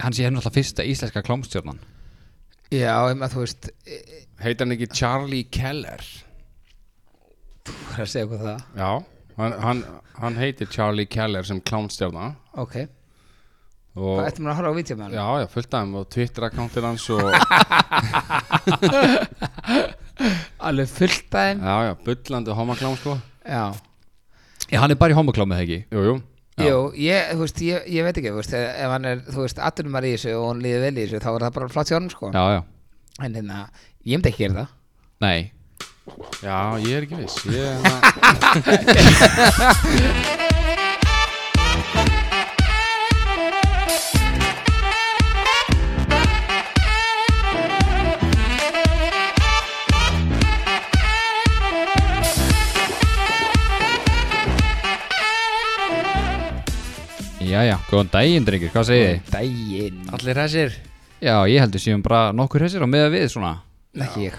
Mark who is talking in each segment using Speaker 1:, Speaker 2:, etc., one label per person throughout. Speaker 1: hann sé hérna alltaf fyrsta íslenska klámstjórnan
Speaker 2: Já, em, að þú veist eh,
Speaker 3: Heitir hann ekki Charlie Keller?
Speaker 2: Þú er að segja hvað það
Speaker 3: Já, hann, hann, hann heitir Charlie Keller sem klánstjarnar
Speaker 2: Ok,
Speaker 3: og
Speaker 2: það ertu mér að horfa á vítjum með hann
Speaker 3: já, já, fullt af þeim og Twitter-akkántir hans og
Speaker 2: Alveg fullt af þeim
Speaker 3: já, já, bullandi homaklám sko
Speaker 2: Já,
Speaker 1: Já, hann er bara í homoklámið ekki
Speaker 3: Jú, jú,
Speaker 2: Jú, ég, þú veist, ég, ég veit ekki, þú veist, e, ef hann er, þú veist, atvinnum í þessu og hann líður vel í þessu, þá er það bara flott hjá hann, sko.
Speaker 1: Já, já,
Speaker 2: En hérna, ég myndi ekki gera það.
Speaker 1: nei
Speaker 3: já, ég er ekki viss Ég er hann
Speaker 1: Já, já, góðan daginn, drengir, hvað segið þið?
Speaker 2: Dægin.
Speaker 4: Allir þessir
Speaker 1: Já, ég heldur séum bara nokkur hessir á meða við svona
Speaker 2: Ekki ég.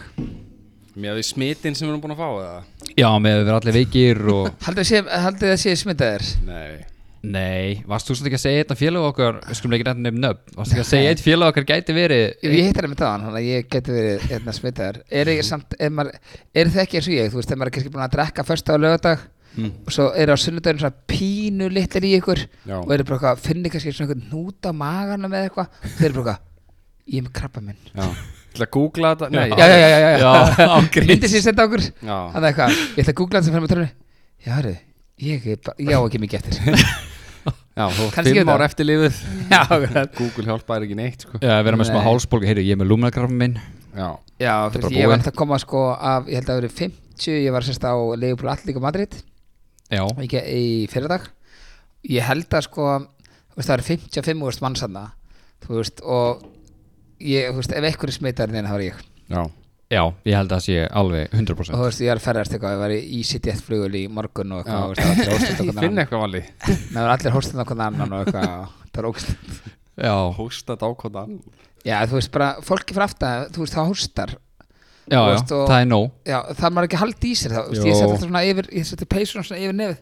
Speaker 3: Með því smitin sem við erum búin að fá eða?
Speaker 1: Já, með að vera allir veikir og
Speaker 2: Haldið sé- haldið það sé smitaðir?
Speaker 3: Nei
Speaker 1: Nei, varst þú svolítið ekki að segja eitthvað félag okkar Við skulum ekki nefnum nöfn Varst ekki að segja eitt félag okkar gæti verið
Speaker 2: Ef Ég hitt hann með það, þannig að ég geti verið hérna smitaðir. Er
Speaker 3: Mhm.
Speaker 2: ég samt, er, maður, er það ekki eins og ég, þú veist, ef maður er kannski búin að drekka fyrsta á lögadag
Speaker 3: Mhm.
Speaker 2: og svo eru á sunnudaginn svona pínu litlir í ykkur
Speaker 3: Já.
Speaker 2: og eru bara eitthvað, finni kannski svona eitthvað nút á magana með eitthvað, þeir eru bara eitthvað, ég er með krabba
Speaker 3: Já, til að googla þetta Nei,
Speaker 2: já, já, já, já, já.
Speaker 1: Já, á gríns.
Speaker 2: Myndi sem ég senda okkur
Speaker 3: Já.
Speaker 2: Það er eitthvað, ég ætla að googla það sem fyrir með tölunni Já, hörru, ég er bara, já ekki mikið eftir
Speaker 3: já þú átt
Speaker 2: Kannski
Speaker 3: fimm
Speaker 2: þetta.
Speaker 3: ár eftir lífið
Speaker 2: Já, akkurat.
Speaker 3: Google hjálpa er ekki neitt sko
Speaker 1: Já, vera með smá
Speaker 2: Nei.
Speaker 1: hálsbólgu, heyrðu, ég er með lúmnakrafum minn
Speaker 3: Já,
Speaker 2: Já,
Speaker 1: er bara
Speaker 2: fyrir ég
Speaker 1: búið.
Speaker 2: var alltaf að koma sko af, ég held að það verið 50 Ég var sérst á Leifupúl Allík og Madrid
Speaker 1: Já,
Speaker 2: ekki, í fyrradag Ég held að sko, þú veist, það eru 55 úrst mannsanna Þú veist, og ég, þú veist, ef einhverju smitar neina þá er ég
Speaker 3: já,
Speaker 1: já, ég held að það sé alveg
Speaker 2: Og þú
Speaker 1: 100%
Speaker 2: veist, ég er að ferðast eitthvað, ég var í EasyJet flugul í morgun og
Speaker 3: Já.
Speaker 2: eitthvað, þú veist, það var allir hóstund okkur
Speaker 3: Ég finn
Speaker 2: annan
Speaker 3: eitthvað vali
Speaker 2: Það var allir hóstund okkur annan og eitthvað, það var ógst
Speaker 1: Já,
Speaker 3: Hósta dákotan
Speaker 2: Já, þú veist bara, fólki fyrir aftan, þú veist, það hóstar
Speaker 1: já,
Speaker 2: Þú
Speaker 1: já,
Speaker 2: veist, og-
Speaker 1: það er nóg
Speaker 2: Já, það er maður ekki að halda í sér það, þú
Speaker 1: Jó.
Speaker 2: veist, ég seti þetta svona yfir, ég seti peysunum svona yfir nefið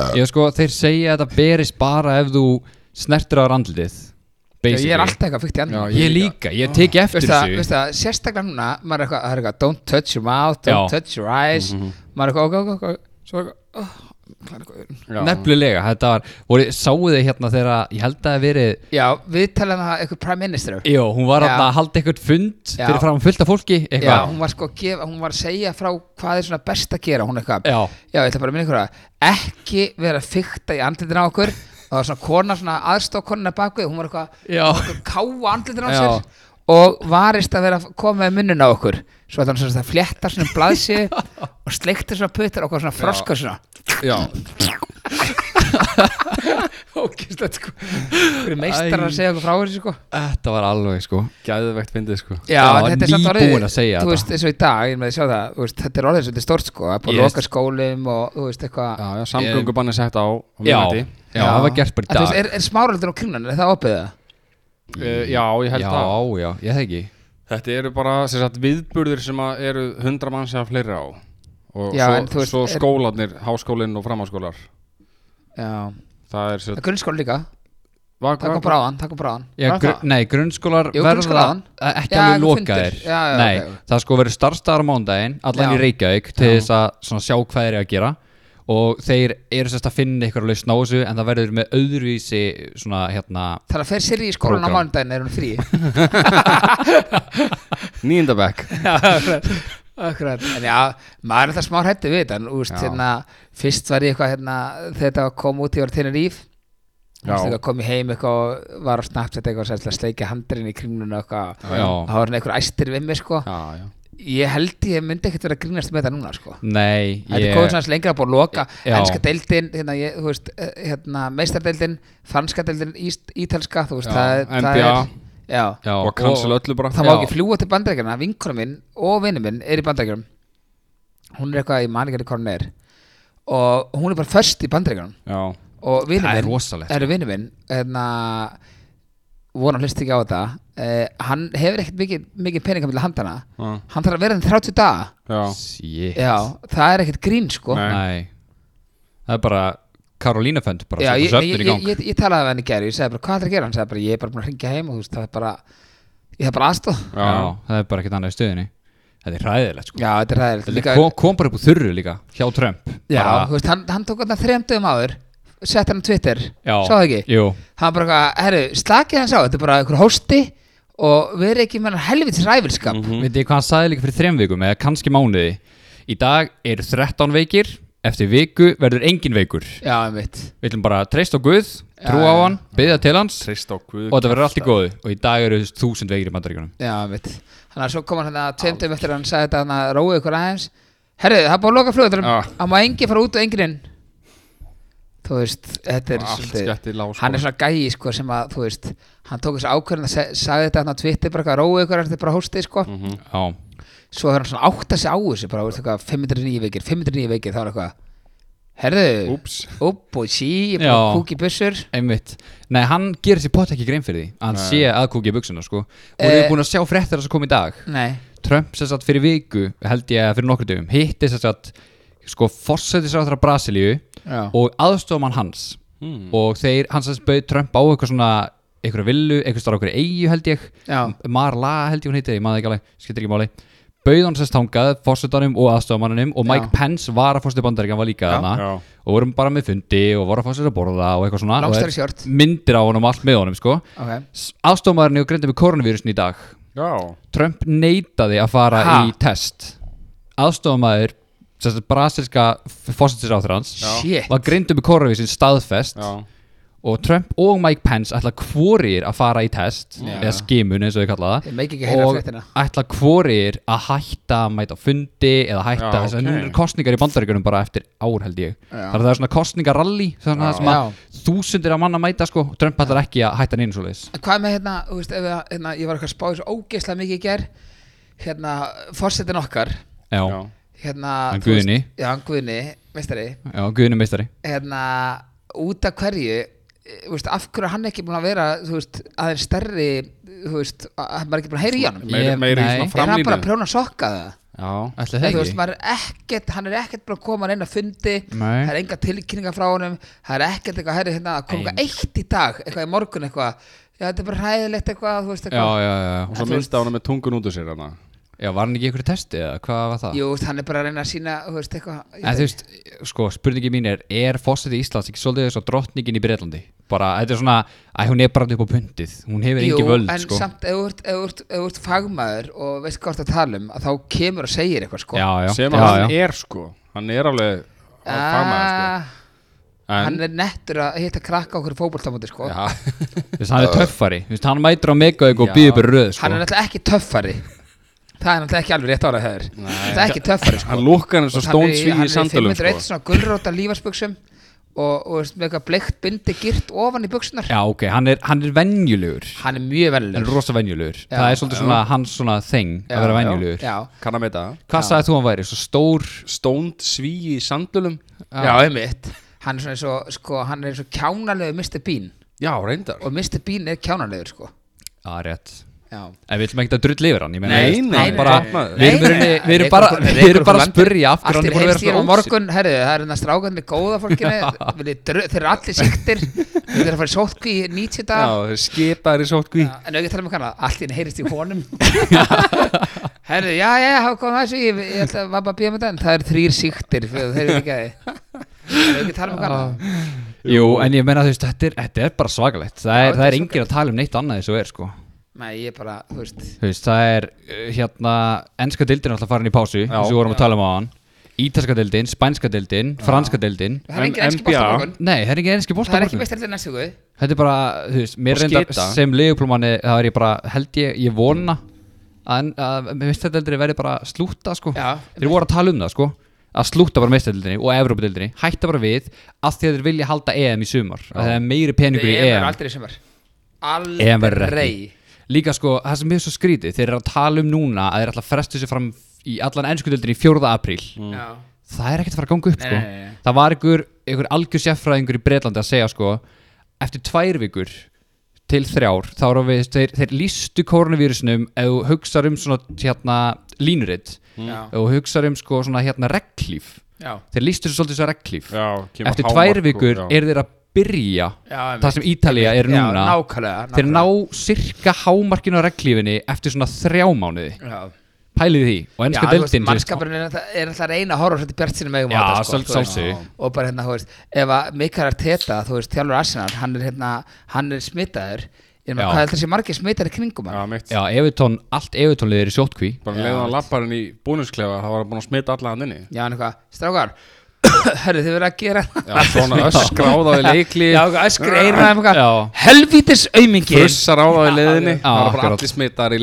Speaker 1: Já, ég sko, þeir segja að það berist bara ef þú snertir á randlitið
Speaker 2: Já, Ég er
Speaker 1: basically.
Speaker 2: alltaf eitthvað fyrkt í andlum
Speaker 3: Já,
Speaker 1: Ég líka, ég teki eftir
Speaker 2: Veist það,
Speaker 1: þessu
Speaker 2: veist það, sérstaklega núna, maður er eitthvað, það er eitthvað, don't touch your mouth, don't
Speaker 1: Já. Mhm,
Speaker 2: touch your eyes Maður er eitthvað, ok, ok, ok, svo eitthvað, oh, klæðir eitthvað öðrun
Speaker 3: Já.
Speaker 1: Nefnilega, þetta var, voru, sáu þið hérna þegar ég held að það verið
Speaker 2: Já, við talaðum það eitthvað prime minister
Speaker 1: Jó, hún var
Speaker 2: Já.
Speaker 1: þarna að halda eitthvað fund
Speaker 2: Já.
Speaker 1: fyrir fram fullt af fólki
Speaker 2: Já,
Speaker 1: eitthvað.
Speaker 2: hún var sko að gefa, hún var að segja frá hvað er svona best að gera, hún er eitthvað
Speaker 1: Já.
Speaker 2: ég ætla bara að minna ykkur að ekki vera fykta í andlitin á okkur og það var svona kona, svona aðstofkonuna bakvið hún var eitthvað,
Speaker 1: Já.
Speaker 2: eitthvað káa andlitin á
Speaker 1: Já.
Speaker 2: sér og varist að vera að koma með munnin á okkur svo að hann svona að flétta svona blaðsi og sleikti svona puttar okkur svona froska svona
Speaker 3: Já,
Speaker 2: ógæslega sko fyrir meistar að segja okkur frá þessu sko
Speaker 1: Þetta var alveg sko
Speaker 3: gæðvegt fyndið sko
Speaker 2: Já,
Speaker 1: Já,
Speaker 2: en þetta er samt
Speaker 1: nýbúin
Speaker 2: orðið,
Speaker 1: að segja
Speaker 2: þú
Speaker 1: þetta.
Speaker 2: veist, eins og í dag, ég með að sjá það, þú veist, þetta er orðið svolítið stórt sko, að búið að
Speaker 1: Yes.
Speaker 2: loka skólum og, þú veist, eitthvað.
Speaker 3: Já, já, samgöngubanni sett á
Speaker 1: Já,
Speaker 3: á miðnætti.
Speaker 1: já, það var gert bara í
Speaker 2: En þú veist,
Speaker 1: dag
Speaker 2: Er, er smáraldur og kringlan, er það opið það?
Speaker 3: Eh, Já, ég held að
Speaker 1: Já, já, ég þekki
Speaker 3: Þetta eru bara sem sagt, viðburðir sem að eru 100 manns eða fleiri á og
Speaker 2: Já, en þú
Speaker 3: svo,
Speaker 2: veist,
Speaker 3: svo
Speaker 2: er-
Speaker 3: skólanir, háskólinn og framháskólar
Speaker 2: Já.
Speaker 3: það er
Speaker 2: Það
Speaker 3: sér
Speaker 2: er grunnskóla líka, takk á bráðan, takk á bráðan
Speaker 1: já,
Speaker 2: Var
Speaker 1: gr
Speaker 2: það?
Speaker 1: Nei, grunnskólar
Speaker 2: Jú,
Speaker 1: verða
Speaker 2: grunnskólaðan.
Speaker 1: eh, ekki alveg
Speaker 2: Já, eitthvað
Speaker 1: lokaðir
Speaker 2: fundir. Já, já,
Speaker 1: Nei,
Speaker 2: ok, ok.
Speaker 1: það sko verður starfstæðar á mándaginn allan
Speaker 2: Já.
Speaker 1: í Reykjavík til þess að svona, sjá hvað þeir eru að gera og þeir eru sérst að finna ykkur að lausna á þessu en það verður með öðruvísi svona hérna
Speaker 2: Þannig að fer sér í skólan á
Speaker 1: Prógram.
Speaker 2: mánudaginn er hún frí
Speaker 3: nýjendabæk
Speaker 2: Akkurat En já, maður er það smá hætti við þetta en, úst,
Speaker 3: Já.
Speaker 2: hérna, Fyrst var ég eitthvað hérna, þegar þetta kom út í orð þinn ríf
Speaker 3: Já.
Speaker 2: kom ég heim eitthvað og var á Snapchat eitthvað og sagði til að sleikja handurinn í kringlunum eitthvað
Speaker 1: Já.
Speaker 2: Það var hann einhver æstir við mig sko
Speaker 3: já, já.
Speaker 2: Ég held ég myndi ekkert vera að grínast með þetta núna sko
Speaker 1: Nei,
Speaker 2: Þetta er komið svona aðeins lengra búin að loka
Speaker 1: Já.
Speaker 2: Ennska deildin, hérna, ég, þú veist, eh, hérna, meisterdeildin, franska deildin, íst, ítalska, þú veist,
Speaker 3: Já,
Speaker 2: það, er- það
Speaker 3: NBA.
Speaker 2: er Já,
Speaker 1: Já, oh,
Speaker 3: og cancel öllu bara
Speaker 2: það
Speaker 1: Já.
Speaker 2: má ekki fljúa til bandarækjana, vinkunum minn og vinnum minn er í bandarækjunum Hún er eitthvað í manningar í korn er Og hún er bara först í bandarækjunum
Speaker 3: já,
Speaker 2: Og vinnum
Speaker 1: Það er
Speaker 2: minn,
Speaker 1: rosalegt, sko.
Speaker 2: er vinnum minn, hérna, vonum hlust ekki á þetta eh, Hann hefur ekkert mikið, mikið peningamill að handana
Speaker 3: já,
Speaker 2: Hann þarf að vera enn 30 daga
Speaker 3: já.
Speaker 1: Shit
Speaker 2: Já, það er ekkert grín sko
Speaker 3: Nei.
Speaker 1: Nei Það er bara Karolínafönd bara
Speaker 2: Já,
Speaker 1: setja
Speaker 2: ég, ég,
Speaker 1: söfnun í
Speaker 2: ég,
Speaker 1: gang
Speaker 2: ég, ég talaði við hann í gerð Ég segi bara, hvað er það að gera? Hann segi bara, ég er bara búin að hringja heim og þú veist, það er bara Ég þarf bara aðstóð
Speaker 1: já. það er bara ekkert annað í stöðinni Þetta er hræðilegt sko
Speaker 2: Já, þetta er ræðilegt
Speaker 1: Þetta kom, kom bara upp úr þurru líka hjá Trump
Speaker 2: Já,
Speaker 1: Bara-
Speaker 2: þú veist, hann, hann tók þarna þrem dögum áður Sett hann á Twitter,
Speaker 1: já
Speaker 2: sá það ekki?
Speaker 1: Jú,
Speaker 2: Hann bara, eitthvað, herru, slakið hans á Þetta er bara einhver hósti Og verið ekki með hann helvitis ræfilskap
Speaker 3: Mhm.
Speaker 1: mm. veit ég hvað hann sagði líka fyrir þrem vikum eða kannski mánuði Í dag eru 13 veikir Eftir viku verður engin veikur
Speaker 2: Já, einmitt
Speaker 1: Við ætlum bara að treysta á Guð, trúa á
Speaker 2: Já, já.
Speaker 1: hann, byggja til hans
Speaker 3: Treyst á Guð
Speaker 1: og þetta verður allt í góðu og í dag eru þúsund veikir í bandaríkunum
Speaker 2: Já, einmitt Þannig að svo kom hann að tveim dögum eftir að hann sagði þetta Þannig að róið ykkur aðeins Herru, það er búin að loka flugutarum
Speaker 3: Já.
Speaker 2: Hann má engi fara út og engin inn Þú veist, þetta er
Speaker 3: Allt
Speaker 2: svolítið-
Speaker 3: skett í lág, sko.
Speaker 2: hann er svona gæi sko sem að þú veist hann tók þessu ákvörðin að se- sagði þetta hann á Twitter bara eitthvað róið ykkur þetta er bara hóstið sko
Speaker 3: Mhm.
Speaker 1: Já,
Speaker 2: svo þegar hann svona átta sig á þessu bara veist eitthvað 509 veikir 509 veikir þá er eitthvað herðu
Speaker 3: Úps
Speaker 2: upp og sí ég er bara
Speaker 1: Já.
Speaker 2: að kúka í bussur
Speaker 1: einmitt Nei, hann gerir sér pott ekki grein fyrir því að hann sé að kúkja í buksuna sko Voruð
Speaker 2: Eh.
Speaker 1: þið búin að sjá fréttir að kom í dag
Speaker 2: nei
Speaker 1: Trump sér satt fyrir viku held ég að fyrir nokkur dögum hitti sér satt sko fórsætisráðara Brasilíu
Speaker 2: já
Speaker 1: og aðstofamann hans
Speaker 3: Hmm.
Speaker 1: og þeir, hans sem bauð Trump á eitthvað svona eitthvað villu, eitthvað starf okkur eigu held ég
Speaker 2: Já.
Speaker 1: Marla held ég hún heiti, ég maður ekki alveg skiptir ekki máli, bauð hann sérst þangað fórsetanum og aðstofamanninum og Mike
Speaker 2: Já.
Speaker 1: Pence var að fórseti bandaríkan var líka
Speaker 2: Já.
Speaker 1: þarna
Speaker 3: Já.
Speaker 1: og vorum bara með fundi og voru að fá sér að borða og eitthvað svona
Speaker 2: Long
Speaker 1: og
Speaker 2: story
Speaker 1: er
Speaker 2: short.
Speaker 1: myndir á honum og allt með honum sko
Speaker 2: ok
Speaker 1: aðstofamanninni og grindið með koronavírusin í dag
Speaker 3: Já
Speaker 1: Trump neitaði að fara
Speaker 2: Ha?
Speaker 1: í test aðstofamæður brasilska fósitinsráþrans
Speaker 2: Shit.
Speaker 1: var greindur með koronavísin staðfest
Speaker 3: Já
Speaker 1: og Trump og Mike Pence ætla hvorir að fara í test
Speaker 2: Já.
Speaker 1: eða skimun eins og ég kalla
Speaker 2: Ég
Speaker 1: það
Speaker 2: meik ekki heyra
Speaker 1: og
Speaker 2: fréttina.
Speaker 1: ætla hvorir að hætta að mæta á fundi eða hætta
Speaker 3: Já,
Speaker 1: þess að
Speaker 3: ok.
Speaker 1: nú eru kostningar í bandaríkunum bara eftir ár held ég
Speaker 2: Já.
Speaker 1: þar að það er svona kostningaralli svona það sem
Speaker 2: Já.
Speaker 1: að þúsundir af manna mæta sko Trump ætlar ekki að hætta neins og leis
Speaker 2: En hvað með hérna, þú veist, ef, að- hérna ég var eitthvað að spá þessu ógeðslega mikið í ger hérna, forsetin okkar
Speaker 1: já,
Speaker 3: Já
Speaker 2: hérna,
Speaker 1: Hann
Speaker 2: þú veist-
Speaker 1: Guðni.
Speaker 2: já, hann Guðni, meistari
Speaker 1: já, guðinu meistari
Speaker 2: hérna, út af hverju eh, þú veist, af hverju er hann ekki búin að vera þú veist, aðeins stærri þú veist, að hann er ekki búin að heyra í honum
Speaker 3: Meiri,
Speaker 1: Ég-
Speaker 3: meiri
Speaker 1: nei.
Speaker 3: svona
Speaker 1: Er
Speaker 2: er hann bara
Speaker 3: framlínu
Speaker 2: að prjóna að sokka það
Speaker 3: Já
Speaker 1: Ætli það
Speaker 2: Hey,
Speaker 1: ekki?
Speaker 2: veist, maður er ekkert, hann er ekkert búin að koma að reyna fundi,
Speaker 1: Nei.
Speaker 2: það er enga tilkynningar frá honum það er ekkert eitthvað, herri, hérna, það kom
Speaker 1: Nei.
Speaker 2: eitthvað eitt í dag, eitthvað í morgun eitthvað já, þetta er bara hræðilegt eitthvað, þú veist
Speaker 1: já,
Speaker 2: eitthvað
Speaker 1: já, já, já.
Speaker 3: Og
Speaker 2: En þú
Speaker 3: svo
Speaker 2: veist-
Speaker 3: minnst á hana með tungun út úr sér hana
Speaker 1: Já, var hann ekki í einhverju testi eða hvað var það?
Speaker 2: jú, þú veist, hann er bara að reyna að sína, þú veist, eitthvað ég
Speaker 1: En þú
Speaker 2: veit-
Speaker 1: veist, sko, spurningi mín er Er fósiti Íslands ekki svolítið þess að drottningin í Breitlandi? Bara, þetta er svona, að hún er bara upp á pundið Hún hefur
Speaker 2: Jú,
Speaker 1: engi völd,
Speaker 2: en
Speaker 1: sko
Speaker 2: samt ef þú ert- ef þú ert- ef þú ert fagmaður og veist hvað þú ert að tala um að þá kemur og segir eitthvað sko
Speaker 1: Já, já,
Speaker 3: Sem að
Speaker 1: já,
Speaker 3: hann
Speaker 1: já.
Speaker 3: er sko Hann er alveg Hann er fagmaður sko
Speaker 2: Ah, hann er nettur að hitta krakka okkur fókbóltamóti sko
Speaker 3: Já
Speaker 1: Þú veist, hann er töffari Þú veist, hann mætir á megaug og býður bara í röð, sko
Speaker 2: hann er náttúrulega ekki töffari það er náttúrulega ekki alveg rétt ára hefur það er ekki töffari sko
Speaker 3: Hann lúkkar eins og stónsví
Speaker 2: hann
Speaker 3: í sandalum
Speaker 2: hann er í 501
Speaker 3: sko
Speaker 2: svona gulróta lífarsbuksum og, og veist, með eitthvað bleikt bindi gyrt ofan í buksunar
Speaker 1: Já, ok, hann er, hann er venjulegur
Speaker 2: hann er mjög
Speaker 1: Hann er
Speaker 2: velur
Speaker 1: rosa venjulegur
Speaker 2: Já.
Speaker 1: Það er svolítið svona hans svona þeng
Speaker 2: Já,
Speaker 1: að vera
Speaker 2: já.
Speaker 1: venjulegur
Speaker 2: já,
Speaker 3: Kann að meita það
Speaker 1: Hvað sagði þú að hann væri? Svo stór
Speaker 3: Stónd sví í sandalum
Speaker 2: já, einmitt hann er svona eins og sko, hann er eins og kjánalegu Mr. Bean
Speaker 3: Já, reyndar
Speaker 2: og Mr. Bean er kjánalegur sko
Speaker 1: Já, rétt
Speaker 2: já
Speaker 1: En við ætlum ekki að drull yfir hann ég meina,
Speaker 3: Nei,
Speaker 1: þú veist,
Speaker 3: nei,
Speaker 1: hann bara,
Speaker 3: nei.
Speaker 1: Við erum,
Speaker 2: Nei,
Speaker 1: í rauninni-
Speaker 2: nei,
Speaker 1: við erum
Speaker 2: rekur
Speaker 1: bara,
Speaker 2: okkur-
Speaker 1: við
Speaker 2: rekur
Speaker 1: erum bara að
Speaker 2: okkur
Speaker 1: spyrja af hverju
Speaker 2: Allt
Speaker 1: hann er búin að vera
Speaker 2: er
Speaker 1: svona
Speaker 2: heyrst hér á
Speaker 1: ósýn
Speaker 2: morgun, herru, það er hérna strákarnir góða fólkinu, viljið dru- þeir eru allir siktir, þeir eru að fara í sótkví í 90
Speaker 3: Já,
Speaker 2: dag,
Speaker 3: þeir skipaðir í sótkví
Speaker 2: en auðvitað tala um hana, allt hérna heyrist í honum. herru, já, já, já, hafa komið að þessu, ég, ég ætla að var bara að bíða með það, en það eru þrýr siktir, þeir eru ekki að þið. En auðvitað tala um
Speaker 1: Ah.
Speaker 2: hana,
Speaker 1: Jú, en ég meina þú veist, þetta er, þetta er bara svakalegt Það er,
Speaker 2: Já, þetta
Speaker 1: það
Speaker 2: er
Speaker 1: er engin að tala um neitt annað þessu er sko
Speaker 2: nei, ég bara, þú veist,
Speaker 1: Þú veist, það er uh, hérna Enska deildin er alltaf farin í pásu eins og við vorum að tala um á hann Ítalska deildin, spænska deildin, franska deildin
Speaker 2: það er engin
Speaker 3: En
Speaker 2: enski bótt á
Speaker 3: NBA?
Speaker 2: morgun,
Speaker 1: Nei, það er ekki enski bólta
Speaker 2: það er ekki best allir næstu guð,
Speaker 1: Þetta er bara, þú veist, mér
Speaker 3: Og
Speaker 1: reyndar
Speaker 3: skita.
Speaker 1: sem leiguplúmanni Það er ég bara, held ég, ég vona að, að mistætdeldinni verði bara slúta sko
Speaker 2: Já.
Speaker 1: Þeir voru að tala um það sko að slúta bara mistætdeldinni og Evrópadeldinni Hætta bara við af því að þeir vilja halda EM í sumar að það er meiri peningur í
Speaker 2: EM er
Speaker 1: EM
Speaker 2: aldrei í sumar,
Speaker 1: EM verður
Speaker 2: aldrei,
Speaker 1: ekki Líka sko, það sem er svo skrítið Þeir eru að tala um núna að þeir ætla að frestu sér fram í allan ennskudeldin í 4. apríl
Speaker 2: já,
Speaker 1: Mm. Það er ekkert að fara að ganga upp
Speaker 2: Nei,
Speaker 1: sko
Speaker 2: nei, nei, nei.
Speaker 1: Það var einhver, einhver algjör sérfræðingur í Breitlandi að segja sko Eftir tvær vikur til þrjár þá eru við, þeir, þeir lístu koronavírusinum ef þú hugsar um svona hérna línuritt
Speaker 2: já,
Speaker 1: ef þú hugsar um sko svona hérna reglíf
Speaker 4: já,
Speaker 1: þeir lístu svo svolítið svo reglíf
Speaker 3: Já, kemur
Speaker 1: eftir
Speaker 3: hámark
Speaker 1: tvær
Speaker 3: og-
Speaker 1: vikur
Speaker 3: já.
Speaker 1: eru þeir að byrja
Speaker 4: já einmitt.
Speaker 1: það sem Ítalía er
Speaker 2: Já,
Speaker 1: núna
Speaker 2: nákvæmlega,
Speaker 1: þeir ná
Speaker 2: nákvæmlega.
Speaker 1: sirka hámarkinu á reglífinni eftir svona þrjá mánuði
Speaker 4: já.
Speaker 1: pælið því og
Speaker 2: Já,
Speaker 1: ennska
Speaker 2: þú veist,
Speaker 1: sko deildin
Speaker 2: mannskapurinn er alltaf- er alltaf að reyna að horfa svolítið bjart sínum eigum
Speaker 1: Já,
Speaker 2: á þetta, sko,
Speaker 1: sjálf-
Speaker 2: þú veist.
Speaker 1: sjálfsögðu.
Speaker 2: og bara hérna, þú veist, ef að Mikael Arteta, þú veist, þjálfur Arsenal hann er hérna, hann er smitaður ég meina,
Speaker 1: Já.
Speaker 2: hvað heldur þessi margir smitaður í kringum
Speaker 3: Já,
Speaker 2: hann?
Speaker 3: mitt
Speaker 1: já, Evertón, allt Evertónlið er í sjóttkví
Speaker 3: Bara leiðan lapparinn í bónusklefa Það var hann búinn að smita alla hann inni
Speaker 2: Já, hann eitthvað, strákar herru, þið verið að gera
Speaker 3: Já, svona öskra á það í leikli
Speaker 2: Já, öskri eina um eitthvað,
Speaker 1: já,
Speaker 2: helvítis aumingi
Speaker 3: Fussar á það í leiðinni
Speaker 1: Já,
Speaker 3: Það var bara
Speaker 1: akkurat.
Speaker 3: allir smitaðar í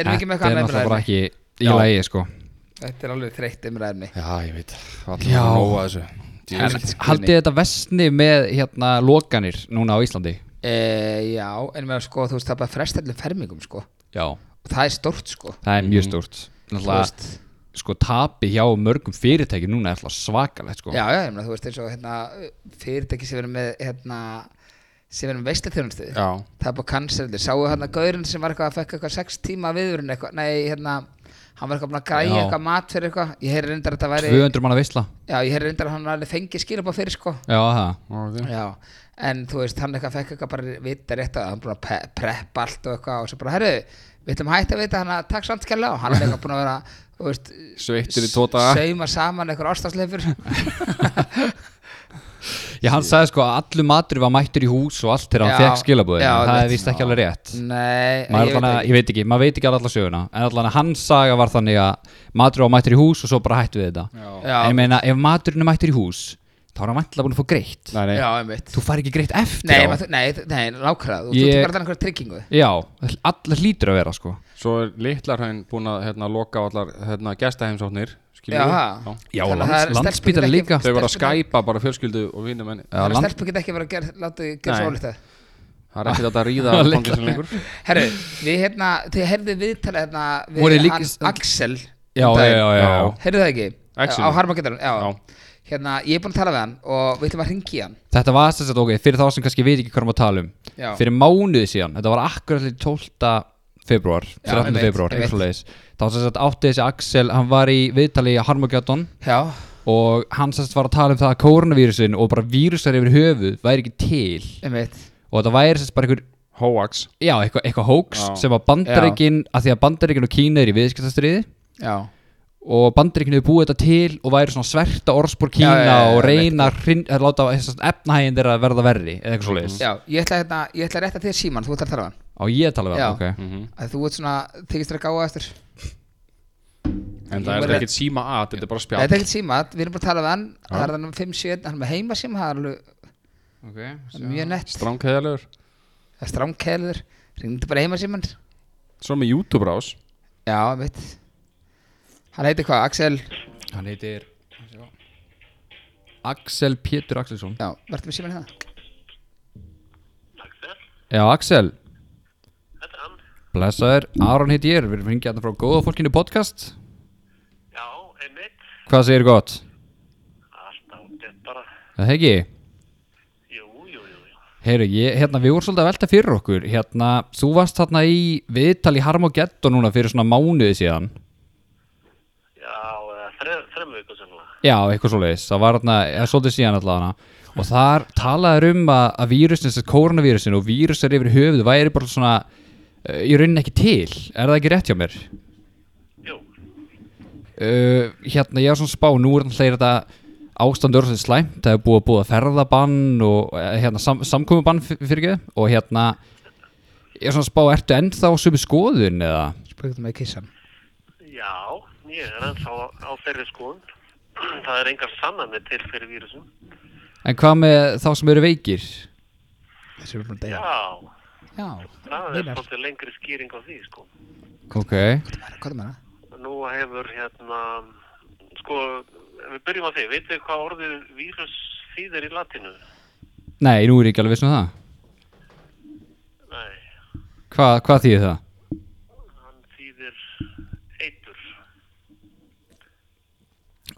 Speaker 2: er um eitthvað annað
Speaker 3: leikli
Speaker 2: erum ekki með
Speaker 1: þetta er náttúrulega
Speaker 2: eitthvað annað
Speaker 1: bara
Speaker 2: umræðinni
Speaker 1: ekki í
Speaker 3: Já.
Speaker 1: lægi sko
Speaker 2: Þetta er alveg þreytt umræðinni
Speaker 3: Já, ég veit
Speaker 1: Já.
Speaker 3: Allir að nóa þessu
Speaker 1: en
Speaker 3: Djöfull.
Speaker 1: haldið þetta vestni með hérna lokanir núna á Íslandi
Speaker 2: e, Já, en með sko, þú veist, það er bara frestallum fermingum sko,
Speaker 1: já,
Speaker 2: og það er stórt sko
Speaker 1: það er mjög stórt
Speaker 2: Þú
Speaker 1: náttúrulega
Speaker 2: veist.
Speaker 1: sko tapi hjá mörgum fyrirtæki núna er alltaf svakalegt sko
Speaker 2: Já, já, ég meina, þú veist eins og hérna, fyrirtæki sem verður með hérna, sem verður með veislatjónustu
Speaker 3: Já,
Speaker 2: það er bara cancelið, sáu hérna gaurinn sem var eitthvað að fekk eitthvað sex tíma viðurinn eitthvað, nei, hérna hann var eitthvað búin að græja
Speaker 1: Já.
Speaker 2: eitthvað mat fyrir eitthvað ég heyri reyndar að þetta væri,
Speaker 1: 200 manna veistla
Speaker 2: já, ég heyri reyndar að hann alveg fengið skilabá fyrir, sko
Speaker 1: já, það
Speaker 3: ok.
Speaker 2: já, en þú veist, hann eitthvað fekk eitthvað bara vita rétt að hann búin að pe- preppa allt og eitthvað og svo bara, herru, við ætlum að hætta að vita hann að takk samt skella og hann er eitthvað búin að vera þú veist,
Speaker 3: Sveittur í tóta
Speaker 2: sauma saman eitthvað ástafsleifur
Speaker 1: Já, hann sagði sko að allur matur var mættur í hús og allt þegar hann
Speaker 2: Já,
Speaker 1: fekk skilabúðin
Speaker 2: já,
Speaker 1: það er
Speaker 2: rétt.
Speaker 1: vist ekki alveg rétt
Speaker 2: nei,
Speaker 1: maður, ég, veit ég veit ekki, maður veit ekki alveg alla söguna en allan að hans saga var þannig að matur var mættur í hús og svo bara hættu við þetta
Speaker 2: Já.
Speaker 1: en ég meina, ef maturinn er mættur í hús þá er hann vantilega búin að fá greitt
Speaker 3: Nei, nei
Speaker 2: Já, einmitt
Speaker 1: þú fær ekki greitt eftir
Speaker 2: Nei,
Speaker 1: á
Speaker 2: maður- nei, þ- nei, lákrað Þú
Speaker 1: Ég-
Speaker 2: ert bara að einhverja tryggingu
Speaker 1: Já, allar hlýtur að vera sko
Speaker 3: Svo er litlarhæn búin að hérna, loka á allar hérna, gestaheimsóknir skilur
Speaker 2: Já,
Speaker 3: við?
Speaker 2: ha.
Speaker 1: Já,
Speaker 2: Þannig að
Speaker 1: lands,
Speaker 2: það er- stelpur
Speaker 1: landsbítar
Speaker 2: geta
Speaker 1: líka
Speaker 2: ekki-
Speaker 3: Þau voru að
Speaker 2: Stelpurnar-
Speaker 3: skæpa bara fjölskyldu og vinnum enni
Speaker 1: Já,
Speaker 2: Þannig að
Speaker 1: land-
Speaker 2: stelpu geta ekki verið að gera, láta gera
Speaker 3: Nei.
Speaker 2: svo ólítið
Speaker 3: Það er ekkert að ríða
Speaker 1: Litla-
Speaker 3: fangelsin lengur
Speaker 2: Herru, við hérna, þið heyrðu viðtala hérna við
Speaker 1: Voru líka-
Speaker 2: hann Axel um
Speaker 1: Já, já, já, já, já.
Speaker 2: Heyrðu það ekki?
Speaker 3: Axel.
Speaker 2: Á Harmageddon, já.
Speaker 3: Já.
Speaker 2: Hérna, ég er búin að tala við hann og við ætlum að hringi hann
Speaker 1: Þetta var þess að ok, fyrir þá sem kannski veit ekki hvað maður tala um
Speaker 2: Já.
Speaker 1: Fyrir mánuði síðan, þetta var akkurat til 12. februar 13.
Speaker 2: einmitt,
Speaker 1: februar,
Speaker 2: einmitt.
Speaker 1: eitthvað leðis Þá sem sagt átti þessi Axel, hann var í viðtali í Harmageddon
Speaker 2: Já,
Speaker 1: og hann sem sagt var að tala um það að koronavírusin og bara vírusar yfir höfuð væri ekki til
Speaker 2: einmitt
Speaker 1: og þetta væri sem sagt bara einhver
Speaker 3: Hoax
Speaker 1: já, eitthvað eitthva hoax
Speaker 3: Já.
Speaker 1: sem að bandaríkin, að því að bandaríkin og Kína er í viðskiptastriði
Speaker 2: Já,
Speaker 1: og bandaríkin hefur búið þetta til og væri svona sverta orðspor Kína
Speaker 2: Já, já, já, já,
Speaker 1: og reyna að hrin- að láta efnahægin þeirra verða verri eða eitthvað svo leiðis
Speaker 2: já ég ætla, hérna, ég ætla að rétta þér síman, þú ætla að tala við hann
Speaker 1: á ég að tala við
Speaker 2: Já.
Speaker 1: það, ok
Speaker 3: Mhm.
Speaker 2: að Þú ert svona, þykist þér að gáða eftir
Speaker 3: En það er þetta ekkert síma að, þetta er bara
Speaker 2: Þetta
Speaker 3: spjall
Speaker 2: er ekkert síma, við erum bara að tala við hann Það er hann 5-7, hann er með heima síma Það er alveg það er mjög nett
Speaker 3: Stránkæðalegur
Speaker 2: Það er strámkæður Ringdu bara heima síman
Speaker 3: Svo með YouTube rás
Speaker 2: Já, veit Hann heitir hvað, Axel
Speaker 1: hann heitir Axel Pétur Axelsson
Speaker 2: Já, verður með síman hérna
Speaker 1: já, Axel blessaður, Aron heit ég við erum hringið hérna frá góða fólkinu podcast
Speaker 5: Já, einmitt.
Speaker 1: hvað segir gott?
Speaker 5: Allt ágætt bara.
Speaker 1: það hegi?
Speaker 5: Jú, jú, jú, jú.
Speaker 1: Heyru, ég, hérna, við vorum svolítið að velta fyrir okkur hérna, þú varst þarna í viðtal í Harmogeddo núna fyrir svona mánuði síðan
Speaker 5: Já, eh, þre, þrem viku sennilega.
Speaker 1: já, eitthvað svoleiðis, það var þarna eða svolítið síðan allavega og þar talaður um að, að vírusin, þess að koronavírusin og vírusar yfir höfuð væri bara svona uh, í rauninni ekki til, er það ekki rétt hjá mér?
Speaker 5: Jú,
Speaker 1: Uh, hérna, ég var svona að spá, nú er þannig að þetta ástandur orðið slæmt, það er búið að búið að ferðabann og eh, hérna, sam, samkomubann fyrir ekki og hérna ég er svona að spá, ertu ennþá sömu skoðun eða?
Speaker 2: Spurgum með kissan
Speaker 5: já, ég er ennþá á, á þeirri skoðun. Það er engar sannanir til fyrir vírusum.
Speaker 1: En hvað með þá sem eru veikir?
Speaker 2: Þessi er búin að
Speaker 5: Já,
Speaker 2: deyja Já,
Speaker 5: það er
Speaker 2: Einar.
Speaker 5: svolítið lengri skýring á því, sko.
Speaker 1: Ok,
Speaker 2: hvað er með það?
Speaker 5: Nú hefur hérna, sko, ef við byrjum á því. Vitið þið hvað orðið vírus þýðir í latinu?
Speaker 1: nei, nú er ég ekki alveg viss um það
Speaker 5: Nei,
Speaker 1: Hva, Hvað þýðir það?
Speaker 5: hann þýðir eitur.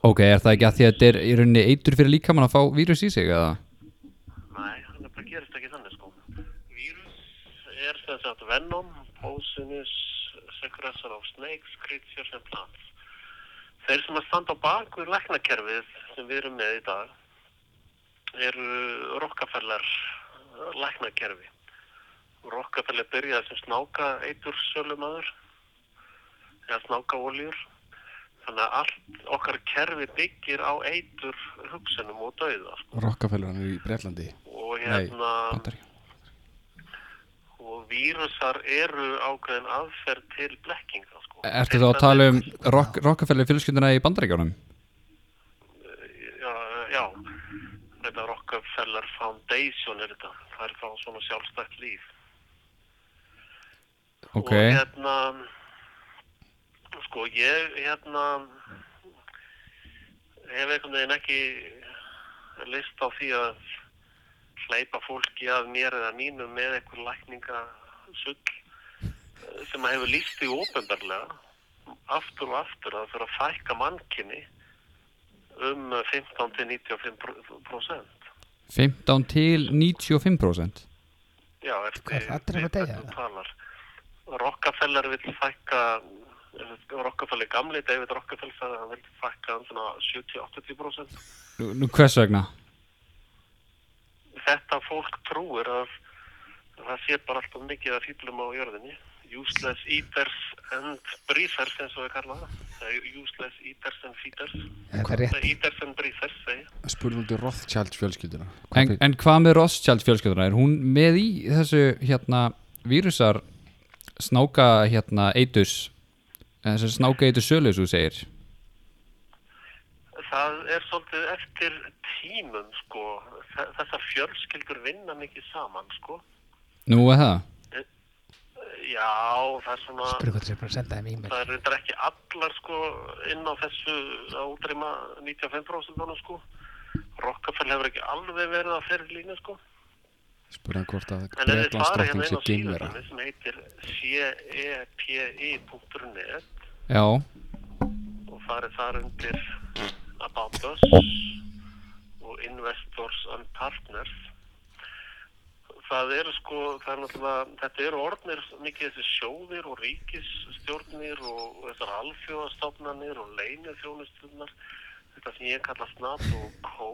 Speaker 1: Ok, er það ekki að því að þetta er í rauninni eitur fyrir líkamann að fá vírus í sig eða?
Speaker 5: Nei, hann er bara gerist ekki þannig sko. Vírus er þess að Venom, Poisonous, Successor of Snakes, Creatures and Plants. Þeir sem að standa á baku læknakerfið sem við erum með í dag eru Rockefeller eh, læknakerfi. Rockefeller byrjaði sem snáka eitur sölumöður eða snáka oljur. Þannig að allt okkar kerfi byggir á eitur hugsunum og dauða. sko.
Speaker 3: Rockefeller hann er í Breitlandi
Speaker 5: Og
Speaker 3: Nei,
Speaker 5: hérna...
Speaker 3: Bandaríkjunum.
Speaker 5: og vírusar eru ákveðin aðferð til blekkinga sko.
Speaker 1: Ertu þá að tala um rock, Rockefeller fjölskylduna í bandaríkjónum?
Speaker 5: já, eh, já, þetta Rockefeller Foundation er þetta það er þá svona sjálfstætt líf
Speaker 1: Ok,
Speaker 5: og hérna sko ég hérna hef einhvern veginn ekki list á því að hleypa fólki að mér eða mínu með einhver lækningasull eh, sem að hefur líst því ópenbarlega aftur og aftur að þurfa að fækka mannkinni um 15-95%
Speaker 1: 15 til 95%
Speaker 5: Já,
Speaker 2: Hvað,
Speaker 5: eftir
Speaker 2: allir að deyja,
Speaker 5: þú
Speaker 2: eða?
Speaker 5: talar. Rockefeller vill fækka, Rockefeller gamli, David Rockefeller sagði að hann vill fækka um svona 70-80%.
Speaker 1: Nú, nú hvers vegna?
Speaker 5: Þetta fólk trúir að það sé bara alltaf mikið að fýtlum á jörðinni. Useless eaters and breathers eins og við kalla það. Það er Useless eaters and feeders.
Speaker 2: Þetta er rétt
Speaker 5: Nei, Eaters and breathers, segi ég.
Speaker 3: Spurðum þú Rothschild fjölskylduna Hvað
Speaker 1: En,
Speaker 3: fyrir-
Speaker 1: en hvað með Rothschild fjölskylduna? Er hún með í þessu hérna vírusar snáka hérna eiturs þessu snáka eitur sölu sem þú segir?
Speaker 5: Það er svolítið eftir tímum, sko. Þe- Þessar fjölskyldur vinna mikið saman, sko.
Speaker 1: Nú er það?
Speaker 5: Já, það er svona,
Speaker 2: Spurðu hvað þú sér bara að senda þeim e-mail
Speaker 5: það er reyndar ekki allar sko inn á þessu að útrýma 95% honum sko. Rockafell hefur ekki alveg verið að þeirri línu sko.
Speaker 3: Spurðum hvort að
Speaker 5: En ef þið fara
Speaker 3: Bretlandsdrottning
Speaker 5: hérna inn
Speaker 3: sé
Speaker 5: á
Speaker 3: geimvera
Speaker 5: síðunni sem heitir E cepi.net
Speaker 1: Já,
Speaker 5: og farið þar undir About Us og Investors and Partners það eru sko það er náttúrulega, þetta eru orðnir mikið þessi sjóðir og ríkisstjórnir og þessar alfjóðastofnanir og leinufjónustunnar þetta sem ég kalla snab og kó